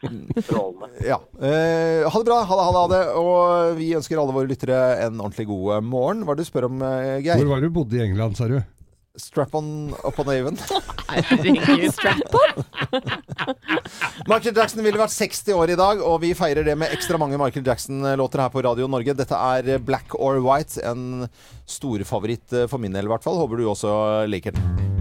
Speaker 1: Ja. Eh, ha det bra. Ha det, ha det, ha det. Og vi ønsker alle våre lyttere en ordentlig god eh, morgen. Hva er det du spør om, eh, Geir?
Speaker 3: Hvor var det du bodde i England, sa du?
Speaker 1: Strap-on upon Aven.
Speaker 4: Herregud,
Speaker 1: strap-on! Michael Jackson ville vært 60 år i dag, og vi feirer det med ekstra mange Michael Jackson-låter her på Radio Norge. Dette er Black or White, en storfavoritt eh, for min del i hvert fall. Håper du også liker den.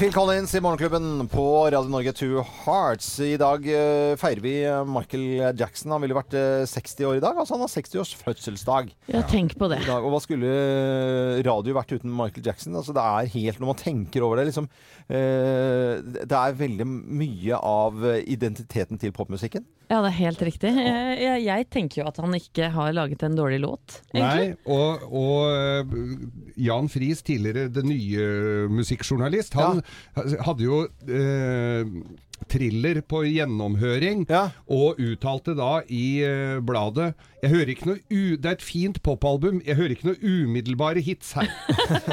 Speaker 1: Phil Collins i Morgenklubben på Radio Norge Two Hearts. I dag eh, feirer vi eh, Michael Jackson. Han ville vært eh, 60 år i dag. Altså han har 60 års fødselsdag.
Speaker 4: Ja, tenk på det.
Speaker 1: I dag, og hva skulle eh, radio vært uten Michael Jackson? Altså, det er helt, Når man tenker over det liksom, eh, Det er veldig mye av eh, identiteten til popmusikken.
Speaker 4: Ja, det er helt riktig. Eh, Jeg, jeg tenker jo at han ikke har laget en dårlig låt,
Speaker 3: Nei,
Speaker 4: egentlig.
Speaker 3: og, og eh, Jan Friis, tidligere den nye musikkjournalist, han hadde jo eh, thriller på gjennomhøring, og uttalte da i eh, bladet jeg hører ikke noe u Det er et fint popalbum, jeg hører ikke noe umiddelbare hits her.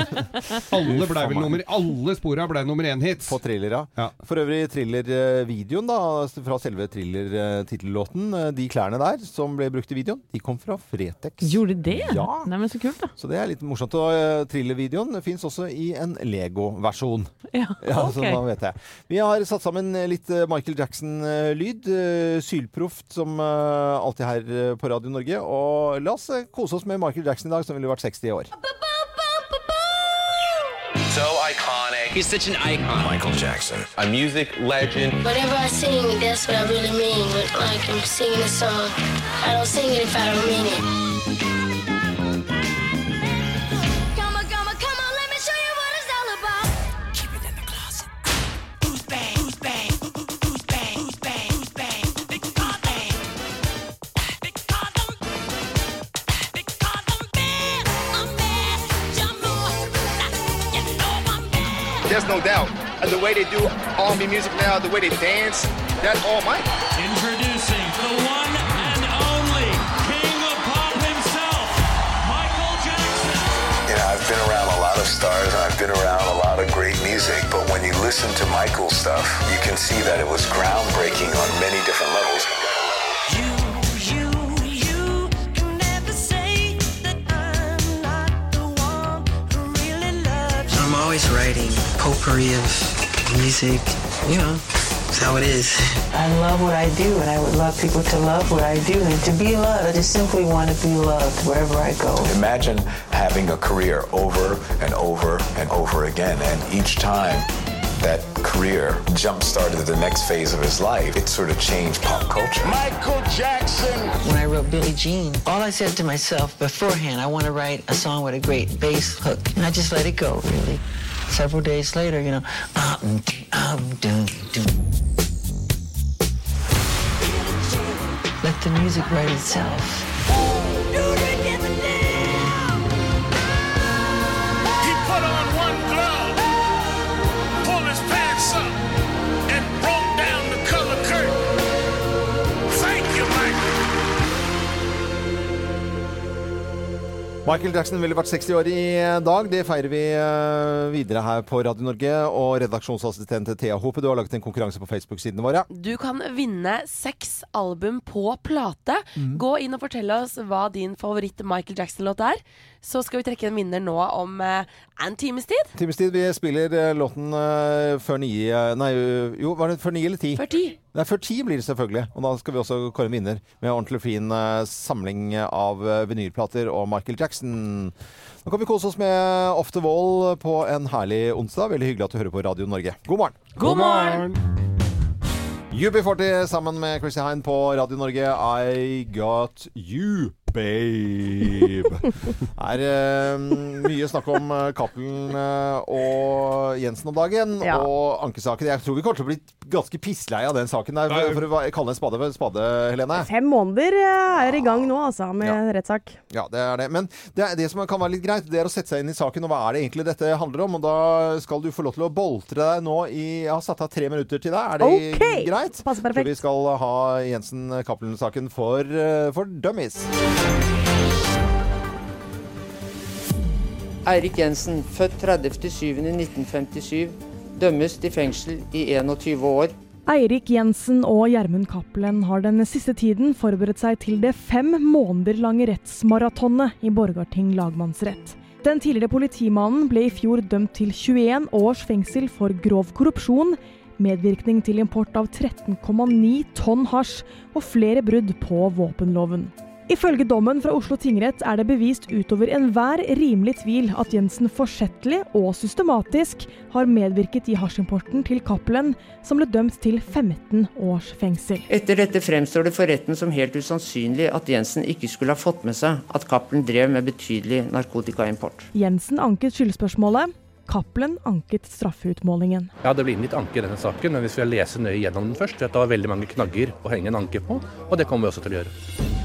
Speaker 3: alle, ble vel nummer, alle spora ble nummer én-hits. På
Speaker 1: thriller,
Speaker 3: ja.
Speaker 1: For øvrig thriller-videoen da, altså, fra selve thriller-tittellåten, eh, de klærne der som ble brukt i videoen, de kom fra Fretex.
Speaker 4: Gjorde det?
Speaker 1: Ja.
Speaker 4: Nei, men så kult, da.
Speaker 1: Så det er litt morsomt. Og eh, thriller-videoen fins også i en Lego-versjon.
Speaker 4: Ja,
Speaker 1: Ja, så
Speaker 4: ok.
Speaker 1: da vet jeg. Vi har satt sammen litt eh, Michael Jackson-lyd. eh, Sylproft, som eh, alltid her eh, på Radio Norge. Og la oss eh, kose oss med Michael Jackson i dag, som ville vært 60 år.
Speaker 13: So iconic. He's such an icon. Michael Jackson, a music legend.
Speaker 14: Whatever I sing, that's what I really mean. But like I'm singing a song, I don't sing it if I don't mean it.
Speaker 7: Come on, come on, come on, let me show you what it's all about. Keep it in the closet. Who's bang? Who's bang? Who's bang? Who's bang? Who's bang? They call them. They call them. They call them bad. I'm bad. You know it. You know I'm bad.
Speaker 15: There's no doubt. And the way they do R&B music now, the way they dance, that's all Mike. Introducing the one and only King of Pop himself, Michael
Speaker 16: You know, I've been around a lot of stars and I've been around a lot of great music, but when you listen to Michael's stuff, you can see that it was groundbreaking on many different levels.
Speaker 7: You can never say that I'm not the one who
Speaker 17: mockery of music. You know, it's how it is.
Speaker 18: I love what I do, and I would love people to love what I do and to be loved. I just simply want to be loved wherever I go.
Speaker 11: Imagine having a career over and over and over again, and each time that career jump started the next phase of his life, it sort of changed pop culture.
Speaker 18: Michael Jackson. When I wrote Billie Jean, all I said to myself beforehand, I want to write a song with a great bass hook, and I just let it go. Really, several days later, you know, uh, mm, uh, dum, dum. let the music write itself.
Speaker 15: He put on one glove, pulled his pants up, and broke down the color curtain. Thank you, Michael.
Speaker 1: Michael Jackson ville vært 60 år i dag. Det feirer vi eh, videre her på Radio Norge. Og redaksjonsassistent Thea Hope, du har laget en konkurranse på Facebook-sidene våre.
Speaker 2: Du kan vinne seks album på plate.
Speaker 1: Mhm.
Speaker 2: Gå inn og fortell oss hva din favoritt Michael Jackson-låt er. Så skal vi trekke en vinner nå om eh, en times tid.
Speaker 1: Times tid, vi spiller eh, låten eh, før ni eh, Nei, jo, var det før ni eller ti?
Speaker 2: Før ti.
Speaker 1: Nei, før ti blir det selvfølgelig. Og da skal vi også kåre en vinner med en ordentlig fin eh, samling av eh, vinylplater og Michael Jackson. Nå kan vi kose oss med Off the Wall på en herlig onsdag. Veldig hyggelig at du hører på Radio Norge. God morgen!
Speaker 2: God morgen!
Speaker 1: UB40 sammen med Chrissy Hein på Radio Norge. I got you, babe. Det er eh, mye snakk om eh, Cappelen eh, og Jensen om dagen,
Speaker 19: Ja.
Speaker 1: og ankesaken. Jeg tror vi kommer til å bli ganske pissleie av den saken der, for, for å va- kalle en spade for en spade, Helene.
Speaker 19: Fem måneder eh, er i gang nå, altså, med rettssak.
Speaker 1: Ja, det er det. Men det, er det som kan være litt greit, det er å sette seg inn i saken, og hva er det egentlig dette handler om? Og da skal du få lov til å boltre deg nå i Jeg har satt av tre minutter til deg. Er det
Speaker 19: Ok!
Speaker 1: greit?
Speaker 19: Passer perfekt.
Speaker 1: For vi skal ha Jensen-Cappelen-saken for, eh, for dummies.
Speaker 20: Eirik Jensen, født 30.07.1957, dømmes til fengsel i 21 år.
Speaker 21: Eirik Jensen og Gjermund Cappelen har den siste tiden forberedt seg til det fem måneder lange rettsmaratonet i Borgarting lagmannsrett. Den tidligere politimannen ble i fjor dømt til 21 års fengsel for grov korrupsjon, medvirkning til import av 13,9 tonn hasj og flere brudd på våpenloven. Ifølge dommen fra Oslo tingrett er det bevist utover enhver rimelig tvil at Jensen forsettlig og systematisk har medvirket i hasjimporten til Cappelen, som ble dømt til 15 års fengsel.
Speaker 20: Etter dette fremstår det for retten som helt usannsynlig at Jensen ikke skulle ha fått med seg at Cappelen drev med betydelig narkotikaimport.
Speaker 21: Jensen anket skyldspørsmålet. Cappelen anket straffeutmålingen.
Speaker 22: Ja, Det blir inn litt anke i denne saken, men vi skal lese nøye gjennom den først. For det er veldig mange knagger å henge en anke på, og det kommer vi også til å gjøre.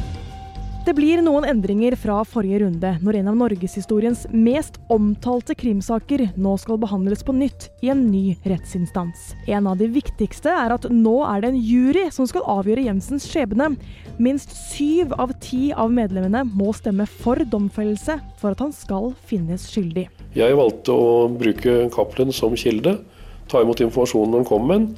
Speaker 21: Det blir noen endringer fra forrige runde, når en av norgeshistoriens mest omtalte krimsaker nå skal behandles på nytt i en ny rettsinstans. En av de viktigste er at nå er det en jury som skal avgjøre Jensens skjebne. Minst syv av ti av medlemmene må stemme for domfellelse for at han skal finnes skyldig.
Speaker 23: Jeg valgte å bruke Cappelen som kilde, ta imot informasjonen den kom med,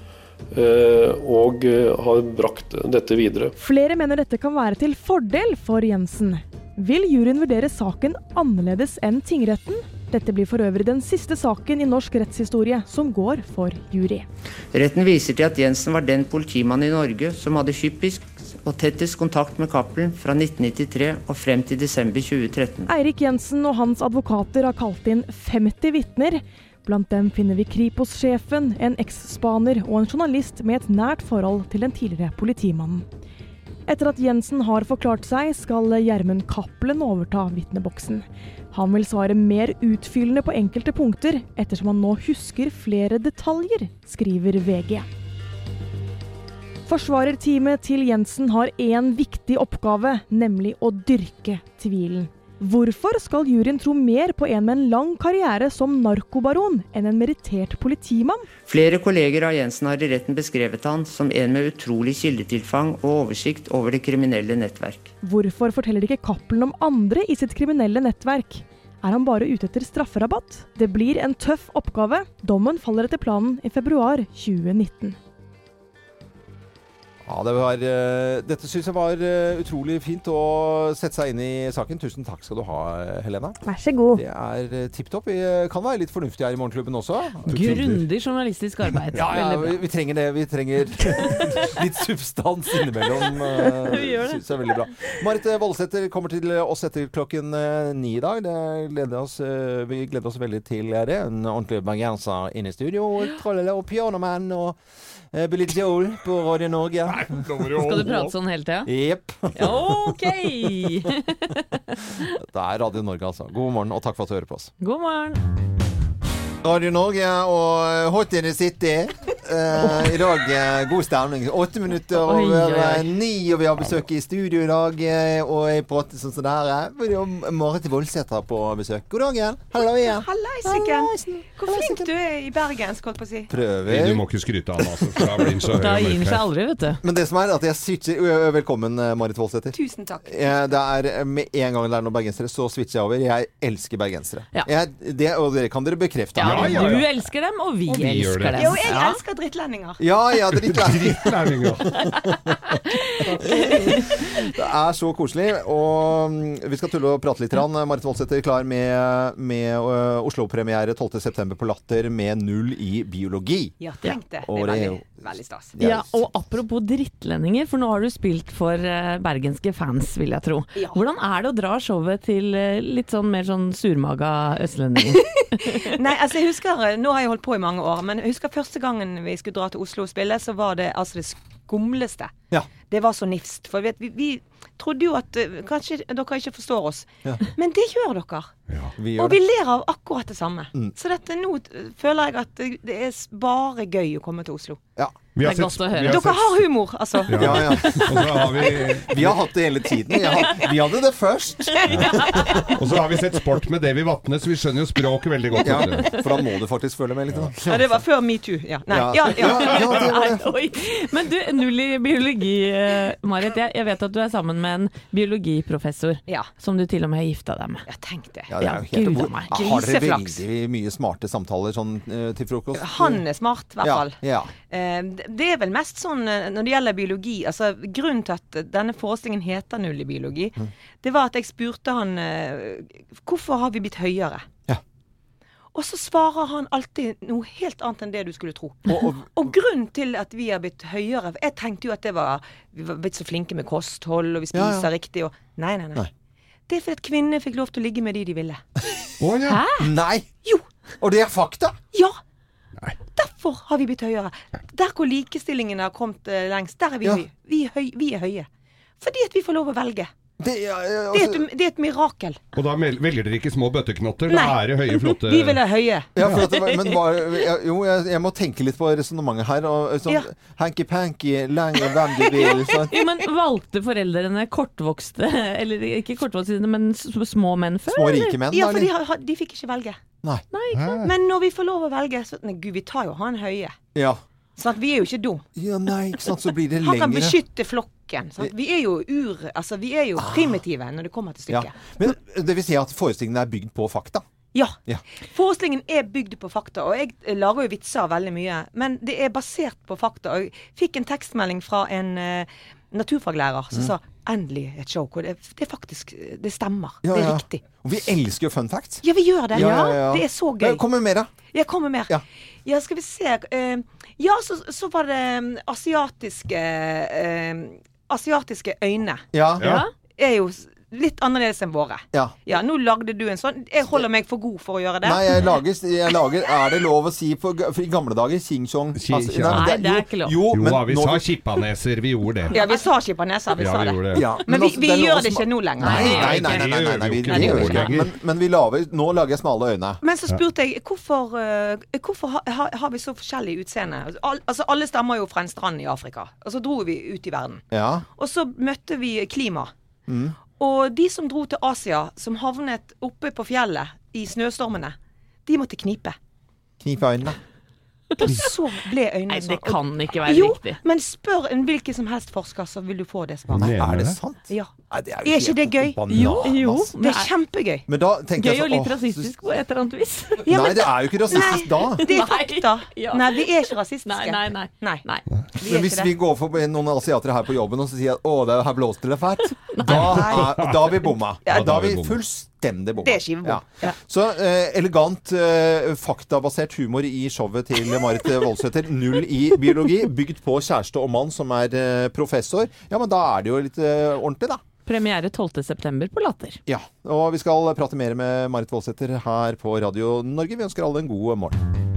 Speaker 23: eh, og eh, har brakt dette videre.
Speaker 21: Flere mener dette kan være til fordel for Jensen. Vil juryen vurdere saken annerledes enn tingretten? Dette blir for øvrig den siste saken i norsk rettshistorie som går for jury.
Speaker 20: Retten viser til at Jensen var den politimannen i Norge som hadde hyppigst og tettest kontakt med Cappelen fra 1993 og frem til desember 2013.
Speaker 21: Eirik Jensen og hans advokater har kalt inn 50 vitner. Blant dem finner vi Kripos-sjefen, en eks-spaner og en journalist med et nært forhold til den tidligere politimannen. Etter at Jensen har forklart seg, skal Gjermund Cappelen overta vitneboksen. Han vil svare mer utfyllende på enkelte punkter, ettersom han nå husker flere detaljer, skriver VG. Forsvarerteamet til Jensen har én viktig oppgave, nemlig å dyrke tvilen. Hvorfor skal juryen tro mer på en med en lang karriere som narkobaron enn en merittert politimann?
Speaker 20: Flere kolleger av Jensen har i retten beskrevet han som en med utrolig kildetilfang og oversikt over det kriminelle nettverk.
Speaker 21: Hvorfor forteller ikke Cappelen om andre i sitt kriminelle nettverk? Er han bare ute etter strafferabatt? Det blir en tøff oppgave. Dommen faller etter planen i februar 2019.
Speaker 1: Ja, det var, eh, dette syns jeg var eh, utrolig fint å sette seg inn i saken. Tusen takk skal du ha, Helena.
Speaker 19: Vær så god.
Speaker 1: Det er eh, tipp topp. Vi eh, kan være litt fornuftige her i Morgenklubben også.
Speaker 4: Grundig journalistisk arbeid.
Speaker 1: Ja, ja
Speaker 4: Veldig
Speaker 1: vi,
Speaker 4: bra.
Speaker 1: vi trenger det. Vi trenger litt substans innimellom.
Speaker 4: Vi gjør det.
Speaker 1: Syns jeg er veldig bra. Marit eh, Voldsæter kommer til oss etter klokken eh, ni i dag. Det gleder oss, eh, vi gleder oss veldig til det. En ordentlig bergenser inne i studio. og Trollele og pianomann og eh, Billy Joel på Radio Norge.
Speaker 4: Skal du prate sånn hele tida?
Speaker 1: Jepp.
Speaker 4: OK!
Speaker 1: Det er Radio Norge, altså. God morgen, og takk for at du hører på oss.
Speaker 4: God morgen.
Speaker 1: Radio Norge og Hot in the City. Eh, I dag eh, god stemning. Åtte minutter
Speaker 4: Oi, oi,
Speaker 1: over eh,
Speaker 4: oi.
Speaker 1: ni, og vi har besøk i studio i dag. eh, Og jeg prater sånn som det her. eh. Vi har Marit Voldsæter på besøk. God dag igjen. Hallo igjen.
Speaker 5: Hallaisiken. Hvor flink du er i bergensk, holdt på å si.
Speaker 1: Prøver.
Speaker 3: Du må ikke skryte av han, altså. For da blir han så høy
Speaker 4: Da
Speaker 3: og
Speaker 4: gir den
Speaker 3: mørk
Speaker 4: seg
Speaker 3: her.
Speaker 4: aldri, vet du.
Speaker 1: Men det som er at jeg switcher Ø, ø, Velkommen, eh, Marit Voldsæter.
Speaker 5: Tusen takk.
Speaker 1: Eh, Det er Med en gang det er noen bergensere, så switcher jeg over. Jeg elsker bergensere.
Speaker 4: Ja.
Speaker 1: Jeg, det, og dere kan dere bekrefte.
Speaker 4: Ja,
Speaker 1: her.
Speaker 4: Du elsker dem, og vi,
Speaker 1: Og vi gjør
Speaker 4: elsker
Speaker 1: det.
Speaker 4: dem.
Speaker 5: Jo, jeg
Speaker 4: Ja.
Speaker 5: elsker drittlendinger.
Speaker 1: Ja, ja, drittlærlinger. det er så koselig. Og mm, vi skal tulle og prate litt. grann. Marit Voldsæter klar med, med ø, Oslo-premiere 12.9. på Latter med null i biologi.
Speaker 5: Ja, tenk det. Det
Speaker 1: Og
Speaker 5: er
Speaker 1: det er
Speaker 5: veldig,
Speaker 1: jo-
Speaker 5: veldig stas.
Speaker 4: Ja, og apropos drittlendinger, for nå har du spilt for eh, bergenske fans, vil jeg tro. Hvordan er det å dra showet til eh, litt sånn mer sånn surmaga østlendinger?
Speaker 5: Nei, altså jeg husker, Nå har jeg holdt på i mange år, men jeg husker første gangen vi skulle dra til Oslo og spille, så var det altså det skumleste. Det var så nifst. For vet, vi, vi trodde jo at eh, Kanskje dere ikke forstår oss,
Speaker 1: Ja.
Speaker 5: men det gjør dere.
Speaker 1: Vi
Speaker 5: Og
Speaker 1: gjør
Speaker 5: vi
Speaker 1: det.
Speaker 5: ler av akkurat det samme.
Speaker 1: Mm.
Speaker 5: Så dette, nå eh, føler jeg at eh, det er s- bare gøy å komme til Oslo.
Speaker 1: Ja.
Speaker 5: Vi har Det er sett- godt å høre. vi har Dere sett- har humor, altså.
Speaker 1: Ja, ja.
Speaker 5: Og så har
Speaker 1: vi... har hatt det hele tiden. Jeg har- Vi hadde det først.
Speaker 3: Og så har vi sett sport med Davy Vatne, så vi skjønner jo språket veldig godt.
Speaker 1: Ja,
Speaker 3: vet du.
Speaker 1: for da må du faktisk følge med litt. da.
Speaker 5: Ja, det var før metoo. Ja. Nei.
Speaker 1: Ja.
Speaker 5: Ja, ja.
Speaker 1: Ja, ja, det var det.
Speaker 4: Oi. Men du, null i biologi, eh, Marit. Jeg, jeg vet at du er sammen med en biologiprofessor, som du til og med har gifta deg med.
Speaker 5: Ja, tenk det.
Speaker 1: Ja, det er jo helt
Speaker 4: Gud
Speaker 1: hvor-
Speaker 4: a meg.
Speaker 1: Ja, Har dere veldig mye smarte samtaler sånn eh, til frokost?
Speaker 5: Han er smart, i hvert fall.
Speaker 1: Ja, ja.
Speaker 5: Eh, det- Det er vel mest sånn eh, når det gjelder biologi altså Grunnen til at eh, denne forestillingen heter Null i biologi,
Speaker 1: Mm.
Speaker 5: det var at jeg spurte han eh, hvorfor har vi blitt høyere. Og så svarer han alltid noe helt annet enn det du skulle tro. Og, grunnen til at vi har blitt høyere for Jeg tenkte jo at det var vi var blitt så flinke med kosthold, og vi
Speaker 1: Ja, ja.
Speaker 5: spiser riktig og Nei, nei, nei.
Speaker 1: Nei.
Speaker 5: Det er fordi at kvinner fikk lov til å ligge med de de ville.
Speaker 1: Hæ? Nei! Jo. Og det er fakta!
Speaker 5: Ja! Derfor har vi blitt høyere. Der hvor likestillingen har kommet eh, lengst, der er vi,
Speaker 1: Ja.
Speaker 5: høy. vi, er høy, vi er høye. Fordi at vi får lov å velge.
Speaker 1: Det er,
Speaker 5: det er, et, det er et mirakel.
Speaker 3: Og da mel- velger dere ikke små bøtteknotter, da
Speaker 5: Nei.
Speaker 3: er det høye, flotte
Speaker 5: Vi vil ha høye.
Speaker 1: Ja, for at, det var- men hva- jeg- jo, jeg, jeg må tenke litt på resonnementet her. Og, sånn,
Speaker 4: Ja.
Speaker 1: Hanky-panky, lang og hvem du vil. Sånn.
Speaker 4: Jo, men Valgte foreldrene kortvokste, eller ikke kortvokste, men s- små menn før?
Speaker 1: Små
Speaker 4: eller?
Speaker 1: rike menn, liksom.
Speaker 5: Ja, for de, har- har- de fikk ikke velge.
Speaker 1: Nei.
Speaker 4: ikke sant?
Speaker 5: Men når vi får lov å velge, så Nei, gud, vi tar jo han høye.
Speaker 1: Ja.
Speaker 5: Sant? Vi er jo ikke dum.
Speaker 1: ja, nei, ikke sant. Så blir det
Speaker 5: Han kan
Speaker 1: lengre.
Speaker 5: beskytte flokken. Sant? Vi er jo ur... Altså, vi er jo primitive når det kommer til
Speaker 1: Ah. Ja.
Speaker 5: stykket.
Speaker 1: Men det vil si at forestillingen er bygd på fakta?
Speaker 5: Ja.
Speaker 1: Ja.
Speaker 5: Forestillingen er bygd på fakta, og jeg eh, lager jo vitser veldig mye. Men det er basert på fakta. Og jeg fikk en tekstmelding fra en eh, naturfaglærer som
Speaker 1: Mm.
Speaker 5: sa endelig et show hvor det, det faktisk det stemmer.
Speaker 1: Ja,
Speaker 5: det er
Speaker 1: ja.
Speaker 5: riktig.
Speaker 1: Og vi elsker jo fun facts.
Speaker 5: Ja, vi gjør det.
Speaker 1: Ja, ja, ja.
Speaker 5: Det er så gøy.
Speaker 1: Men kommer mer, da?
Speaker 5: Jeg kommer mer. Ja. skal vi se. eh, ja, så, så var det mm, asiatiske eh, Asiatiske øyne.
Speaker 1: Ja. Ja.
Speaker 5: Er jo s- litt annerledes enn våre.
Speaker 1: Ja.
Speaker 5: Ja, nå lagde du en sånn. Jeg holder meg for god for å gjøre det.
Speaker 1: Nei, jeg lager, jeg lager Er det lov å si på, for i gamle dager altså, Sing-song?
Speaker 3: Ki-
Speaker 5: Nei, det er ikke lov.
Speaker 1: Jo,
Speaker 3: Jo,
Speaker 1: men
Speaker 3: da, vi
Speaker 1: nå-
Speaker 3: sa kippaneser, vi gjorde det.
Speaker 5: Ja, vi sa skipaneser, vi
Speaker 3: Ja,
Speaker 5: sa
Speaker 3: vi
Speaker 5: det.
Speaker 3: gjorde det. Ja,
Speaker 5: Men
Speaker 1: men
Speaker 5: vi,
Speaker 1: altså,
Speaker 5: vi
Speaker 1: det er noe
Speaker 5: gjør det
Speaker 1: som-
Speaker 5: ikke nå lenger.
Speaker 1: Nei, nei, nei, nei, nei, nei, nei, vi,
Speaker 5: Nei, det
Speaker 1: vi
Speaker 5: gjør
Speaker 1: gjør
Speaker 5: vi
Speaker 1: ikke
Speaker 5: ikke.
Speaker 1: det. Men, men vi lager, nå lager jeg smale øyne.
Speaker 5: Men så spurte jeg hvorfor, eh, hvorfor ha, ha, har vi så forskjellig utseende? Al, altså, alle stammer jo fra en strand i Afrika. Og så dro vi ut i verden.
Speaker 1: Ja.
Speaker 5: Og så møtte vi klima.
Speaker 1: Mm.
Speaker 5: Og de som dro til Asia, som havnet oppe på fjellet i snøstormene, de måtte knipe.
Speaker 1: Knip i øynene.
Speaker 5: Og så ble øynene
Speaker 4: Nei,
Speaker 5: sånn.
Speaker 4: det kan ikke være
Speaker 5: jo,
Speaker 4: riktig.
Speaker 5: men spør en hvilken som helst forsker, så vil du få det svaret.
Speaker 1: Nei, er det sant?
Speaker 5: Ja.
Speaker 1: Nei, det
Speaker 5: Er ikke det gøy? Det er kjempegøy.
Speaker 1: Men da tenker jeg så- åh,
Speaker 5: rasistisk
Speaker 4: på et eller annet vis.
Speaker 1: Nei, det er jo ikke rasistisk da.
Speaker 5: Det er fakta.
Speaker 4: ja.
Speaker 5: Nei, vi er ikke rasistiske.
Speaker 4: Nei, nei,
Speaker 5: nei. Vi er
Speaker 1: Men hvis
Speaker 5: ikke det.
Speaker 1: vi går forbi noen asiater her på jobben og så sier at å, det her blåser det fælt, da, er, da har vi bomma.
Speaker 5: Ja,
Speaker 1: da
Speaker 5: da
Speaker 1: har vi
Speaker 5: har vi bomma.
Speaker 1: fullstendig bomma.
Speaker 5: Det er skivebom. Ja.
Speaker 1: Så eh, elegant, eh, faktabasert humor i showet til Marit eh, Voldsæter. Null i biologi. Bygd på kjæreste og mann som er eh, professor. Ja, men da er det jo litt eh, ordentlig, da.
Speaker 4: Premiere 12.9. på Latter.
Speaker 1: Ja, og vi skal prate mer med Marit Voldsæter her på Radio Norge. Vi ønsker alle en god morgen.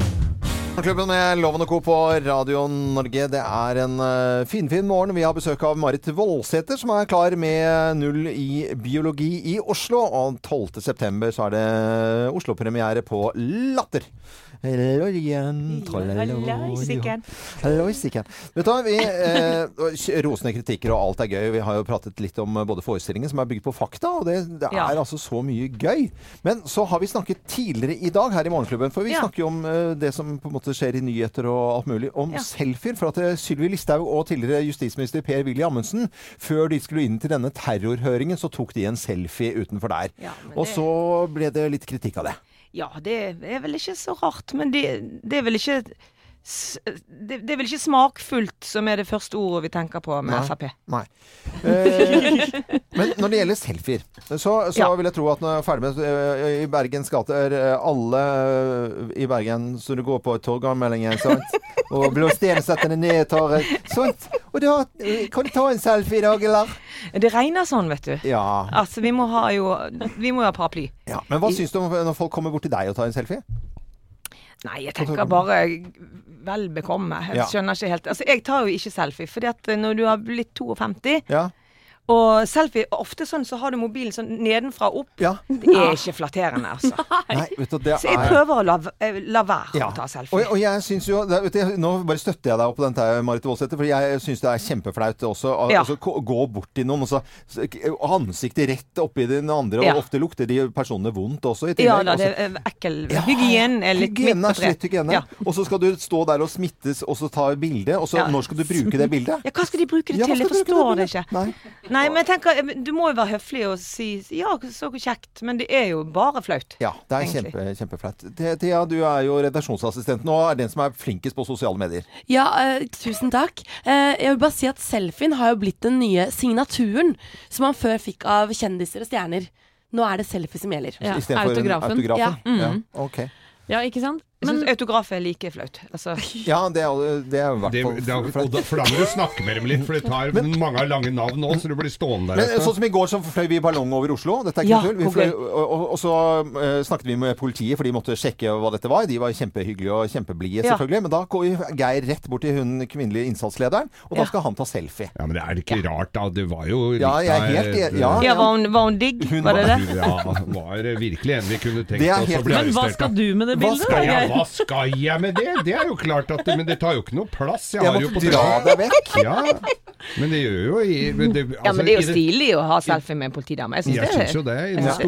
Speaker 1: Morgenklubben med Loven og Co. på Radio Norge. Det er en eh, finfin morgen. Vi har besøk av Marit Voldsæter, som er klar med null i biologi i Oslo. Og 12. september så er det Oslo-premiere på Latter. Hallo igjen.
Speaker 5: Halloisikken.
Speaker 1: Halloisikken. Vet du hva, vi eh, og Rosende kritikker og alt er gøy. Vi har jo pratet litt om eh, både forestillingen som er bygd på fakta, og det, det er
Speaker 5: Ja.
Speaker 1: altså så mye gøy. Men så har vi snakket tidligere i dag her i Morgenklubben, for vi
Speaker 5: Ja.
Speaker 1: snakker jo om eh, det som på en måte skjer i nyheter og alt mulig, om
Speaker 5: Ja.
Speaker 1: selfier. For at eh, Sylvi Listhaug og tidligere justisminister Per-Willy Amundsen, før de skulle inn til denne terrorhøringen, så tok de en selfie utenfor der.
Speaker 5: Ja, men
Speaker 1: og
Speaker 5: det-
Speaker 1: så ble det litt kritikk av det.
Speaker 5: Ja, det er vel ikke så rart, men det, det er vel ikke s- det, det er vel ikke smakfullt som er det første ordet vi tenker på med
Speaker 1: Nei.
Speaker 5: Frp.
Speaker 1: Nei. Eh, men når det gjelder selfier, så, så
Speaker 5: Ja.
Speaker 1: vil jeg tro at når jeg er ferdig med eh, i Bergens gater eh, Alle eh, i Bergen som du går på Torgallmeldingen, sant. Og Blåsten setter det ned i torget. Sånt. Og da eh, kan du ta en selfie i dag, eller?
Speaker 5: Det regner sånn, vet du.
Speaker 1: Ja.
Speaker 5: Altså, vi må ha jo Vi må jo ha paraply.
Speaker 1: ja. Men hva syns du om når folk kommer bort til deg og tar en selfie?
Speaker 5: Nei, jeg tenker bare vel bekomme.
Speaker 1: Ja.
Speaker 5: Jeg skjønner ikke helt. Altså, jeg tar jo ikke selfie, fordi at eh, når du har blitt 52
Speaker 1: Ja.
Speaker 5: Og selfie, ofte sånn så har du mobilen sånn nedenfra og opp. Det er ikke flatterende, altså.
Speaker 1: Nei, vet du, det
Speaker 5: Så jeg
Speaker 1: er-
Speaker 5: prøver å la, eh, la være å ta selfie.
Speaker 1: Og, og jeg synes jo, det, vet du, Nå bare støtter jeg deg opp på den der, Marit Voldsæter, for jeg syns det er kjempeflaut også å
Speaker 5: Ja.
Speaker 1: å så ko- gå bort til noen og så så- og ansiktet rett oppi den andre, og
Speaker 5: Ja.
Speaker 1: ofte lukter de personene vondt også i tillegg.
Speaker 5: Ja da,
Speaker 1: og så-
Speaker 5: det er eh, ekkel Hygienen er litt
Speaker 1: Hygiene
Speaker 5: midt
Speaker 1: er
Speaker 5: på treet.
Speaker 1: slitt hygiene.
Speaker 5: Ja.
Speaker 1: Og så skal du stå der og smittes, og så ta bilde. Og så
Speaker 5: Ja.
Speaker 1: når skal du bruke det bildet?
Speaker 5: Ja, hva skal de bruke det
Speaker 1: Ja, hva
Speaker 5: til? Jeg
Speaker 1: skal de bruke
Speaker 5: forstår det
Speaker 1: det
Speaker 5: ikke.
Speaker 1: Nei.
Speaker 5: men jeg tenker, eh, du må jo være høflig og si ja, så kjekt, men det er jo bare flaut.
Speaker 1: Ja, det er
Speaker 5: Egentlig.
Speaker 1: kjempe, kjempeflaut. Thea, Thea, du er jo redaksjonsassistenten og er den som er flinkest på sosiale medier.
Speaker 2: Ja, eh, tusen takk. Eh, jeg vil bare si at selfien har jo blitt den nye signaturen som man før fikk av kjendiser og stjerner. Nå er det selfie som gjelder.
Speaker 1: I stedet for en autografen.
Speaker 2: Ja.
Speaker 5: mm.
Speaker 1: Ja, ok.
Speaker 4: Ja, ikke sant?
Speaker 5: Jeg syns autograf er like flaut. Altså.
Speaker 1: Ja, det er, det er i hvert
Speaker 3: Det,
Speaker 1: fall
Speaker 3: da, og da, for da må du snakke med dem litt, for det tar mange har lange navn nå, så du blir stående der.
Speaker 1: Men
Speaker 3: et sted.
Speaker 1: sånn som i går, så fløy vi ballong over Oslo. Dette er ikke
Speaker 3: Ja,
Speaker 1: tull. Vi
Speaker 3: hvor
Speaker 1: fløy,
Speaker 3: gøy.
Speaker 1: og, og, og så eh, snakket vi med politiet, for de måtte sjekke hva dette var. De var kjempehyggelige og kjempeblide,
Speaker 3: Ja.
Speaker 1: selvfølgelig. Men da går jo Geir rett bort til hun kvinnelige innsatslederen, og da skal han ta selfie.
Speaker 3: Ja, men det er ikke rart, da. Det var jo
Speaker 1: Ja,
Speaker 3: litt
Speaker 1: jeg
Speaker 3: av
Speaker 1: er helt
Speaker 3: et-
Speaker 1: enig. Ja,
Speaker 5: Ja, var hun, var hun digg?
Speaker 3: Hun altså
Speaker 5: var det det?
Speaker 3: Ja, var det virkelig en vi kunne tenkt
Speaker 1: Det er
Speaker 3: oss å
Speaker 1: helt
Speaker 3: bli
Speaker 1: riktig. Men hva
Speaker 3: arrestert
Speaker 1: skal
Speaker 3: av.
Speaker 1: du med det bildet,
Speaker 3: Hva skal, jeg,
Speaker 1: Geir?
Speaker 3: hva skal jeg med det? Det er jo klart at det, Men det tar jo ikke noe plass. Jeg,
Speaker 1: Jeg
Speaker 3: har jo
Speaker 1: måtte
Speaker 3: på-
Speaker 1: dra deg vekk.
Speaker 3: Ja, men det gjør jo i, men det, altså,
Speaker 5: Ja, men det er jo
Speaker 3: i
Speaker 5: stilig å ha selfie med en politidame. Jeg syns
Speaker 3: Jeg
Speaker 5: det,
Speaker 3: syns jo det. I
Speaker 5: jeg
Speaker 3: den
Speaker 5: synes det er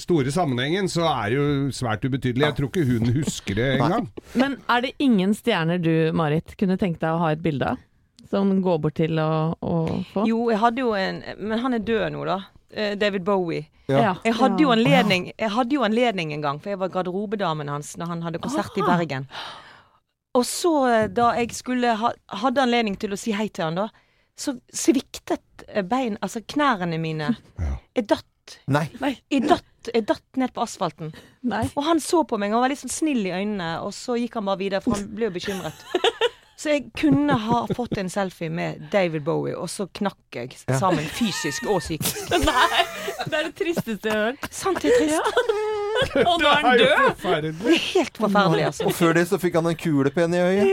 Speaker 3: store, store sammenhengen så er det jo svært ubetydelig. Jeg tror ikke hun husker det engang.
Speaker 4: Men er det ingen stjerner du, Marit, kunne tenkt deg å ha et bilde av? Som går bort til å, å få?
Speaker 5: Jo, jeg hadde jo en Men han er død nå, da. Eh, David Bowie.
Speaker 4: Ja. Ja.
Speaker 5: Jeg, hadde jo
Speaker 4: Ja.
Speaker 5: anledning, jeg hadde jo anledning en gang, for jeg var garderobedamen hans når han hadde konsert i
Speaker 4: Aha.
Speaker 5: Bergen. Og så, eh, da jeg skulle ha, hadde anledning til å si hei til han, da, så sviktet eh, bein, altså knærne mine. Jeg datt.
Speaker 1: Nei.
Speaker 5: Jeg datt, jeg datt ned på asfalten. Og han så på meg og var litt sånn snill i øynene, og så gikk han bare videre, for han ble jo bekymret. Så jeg kunne ha fått en selfie med David Bowie, og så knakk jeg
Speaker 4: Ja.
Speaker 5: sammen fysisk og psykisk.
Speaker 4: Nei, det er det tristeste jeg har hørt.
Speaker 5: Sant, det er trist.
Speaker 4: Og nå er han død!
Speaker 5: Det er helt forferdelig, altså.
Speaker 1: Og før det så fikk han en kulepenn i øyet.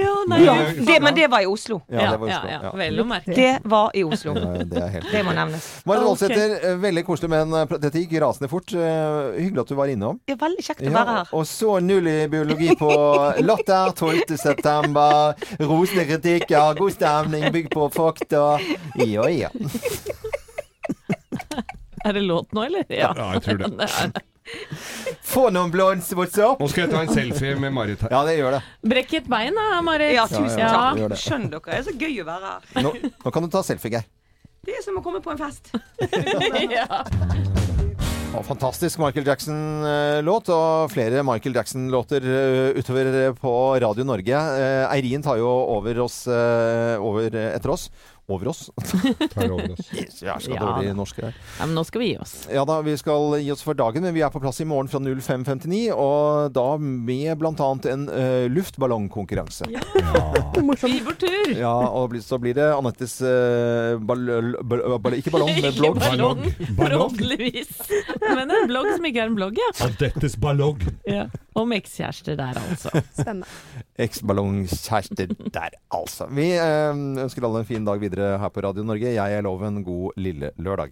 Speaker 5: det, men det var i Oslo.
Speaker 1: Ja, det var i Oslo, ja.
Speaker 4: Vel å merke.
Speaker 5: Det var i Oslo.
Speaker 1: Ja, Eh, det er helt
Speaker 5: Det må
Speaker 1: riktig.
Speaker 5: nevnes.
Speaker 1: Marit Voldsæter, eh, veldig koselig, men eh, dette gikk rasende fort. Eh, Hyggelig at du var innom.
Speaker 5: Det er veldig kjekt å
Speaker 1: Ja,
Speaker 5: være her.
Speaker 1: og så null i biologi på Latter 12. september. Rosende kritikker, god stemning, bygg på fakta. Ja, ja.
Speaker 4: Er det låt nå, eller?
Speaker 1: Ja, jeg tror det.
Speaker 4: er det.
Speaker 1: Få noen blondes, what's up?
Speaker 3: Nå skal jeg ta en selfie med Marit her.
Speaker 1: Ja, det gjør det.
Speaker 4: Brekk et bein da, Marit.
Speaker 1: Ja, tusen Ja, ja, ja. takk. Gjør det.
Speaker 5: Skjønn dere, det er så gøy å være her.
Speaker 1: Nå, nå kan du ta selfie, Geir.
Speaker 5: Det er som å komme på en fest.
Speaker 1: Og fantastisk Michael Jackson-låt, og flere Michael Jackson-låter eh, utover eh, på Radio Norge. Eh, Eirin tar jo over oss eh, over, eh, etter oss. Over oss.
Speaker 3: Tar over altså. oss.
Speaker 1: Yes, jeg skal
Speaker 4: Ja,
Speaker 1: dårlig
Speaker 4: da.
Speaker 1: norsk her.
Speaker 4: Ja, men nå skal vi gi oss.
Speaker 1: Ja da, vi skal gi oss for dagen, men vi er på plass i morgen fra 05.59, og da med bl.a. en eh, luftballongkonkurranse. Ja.
Speaker 4: Vi går tur!
Speaker 1: Ja, og bli- så blir det Anettes eh, ball, ball, ball, Ikke ballong, men blogg.
Speaker 4: Ballong, forhåpentligvis. Men en blogg som ikke er en blogg, ja.
Speaker 1: Anettes ballong.
Speaker 4: ja. Om ekskjærester der, altså.
Speaker 19: Spennende.
Speaker 1: Eksballongkjærester der, altså. Vi eh, ønsker alle en fin dag videre her på Radio Norge. Jeg er Loven. God lille lørdag.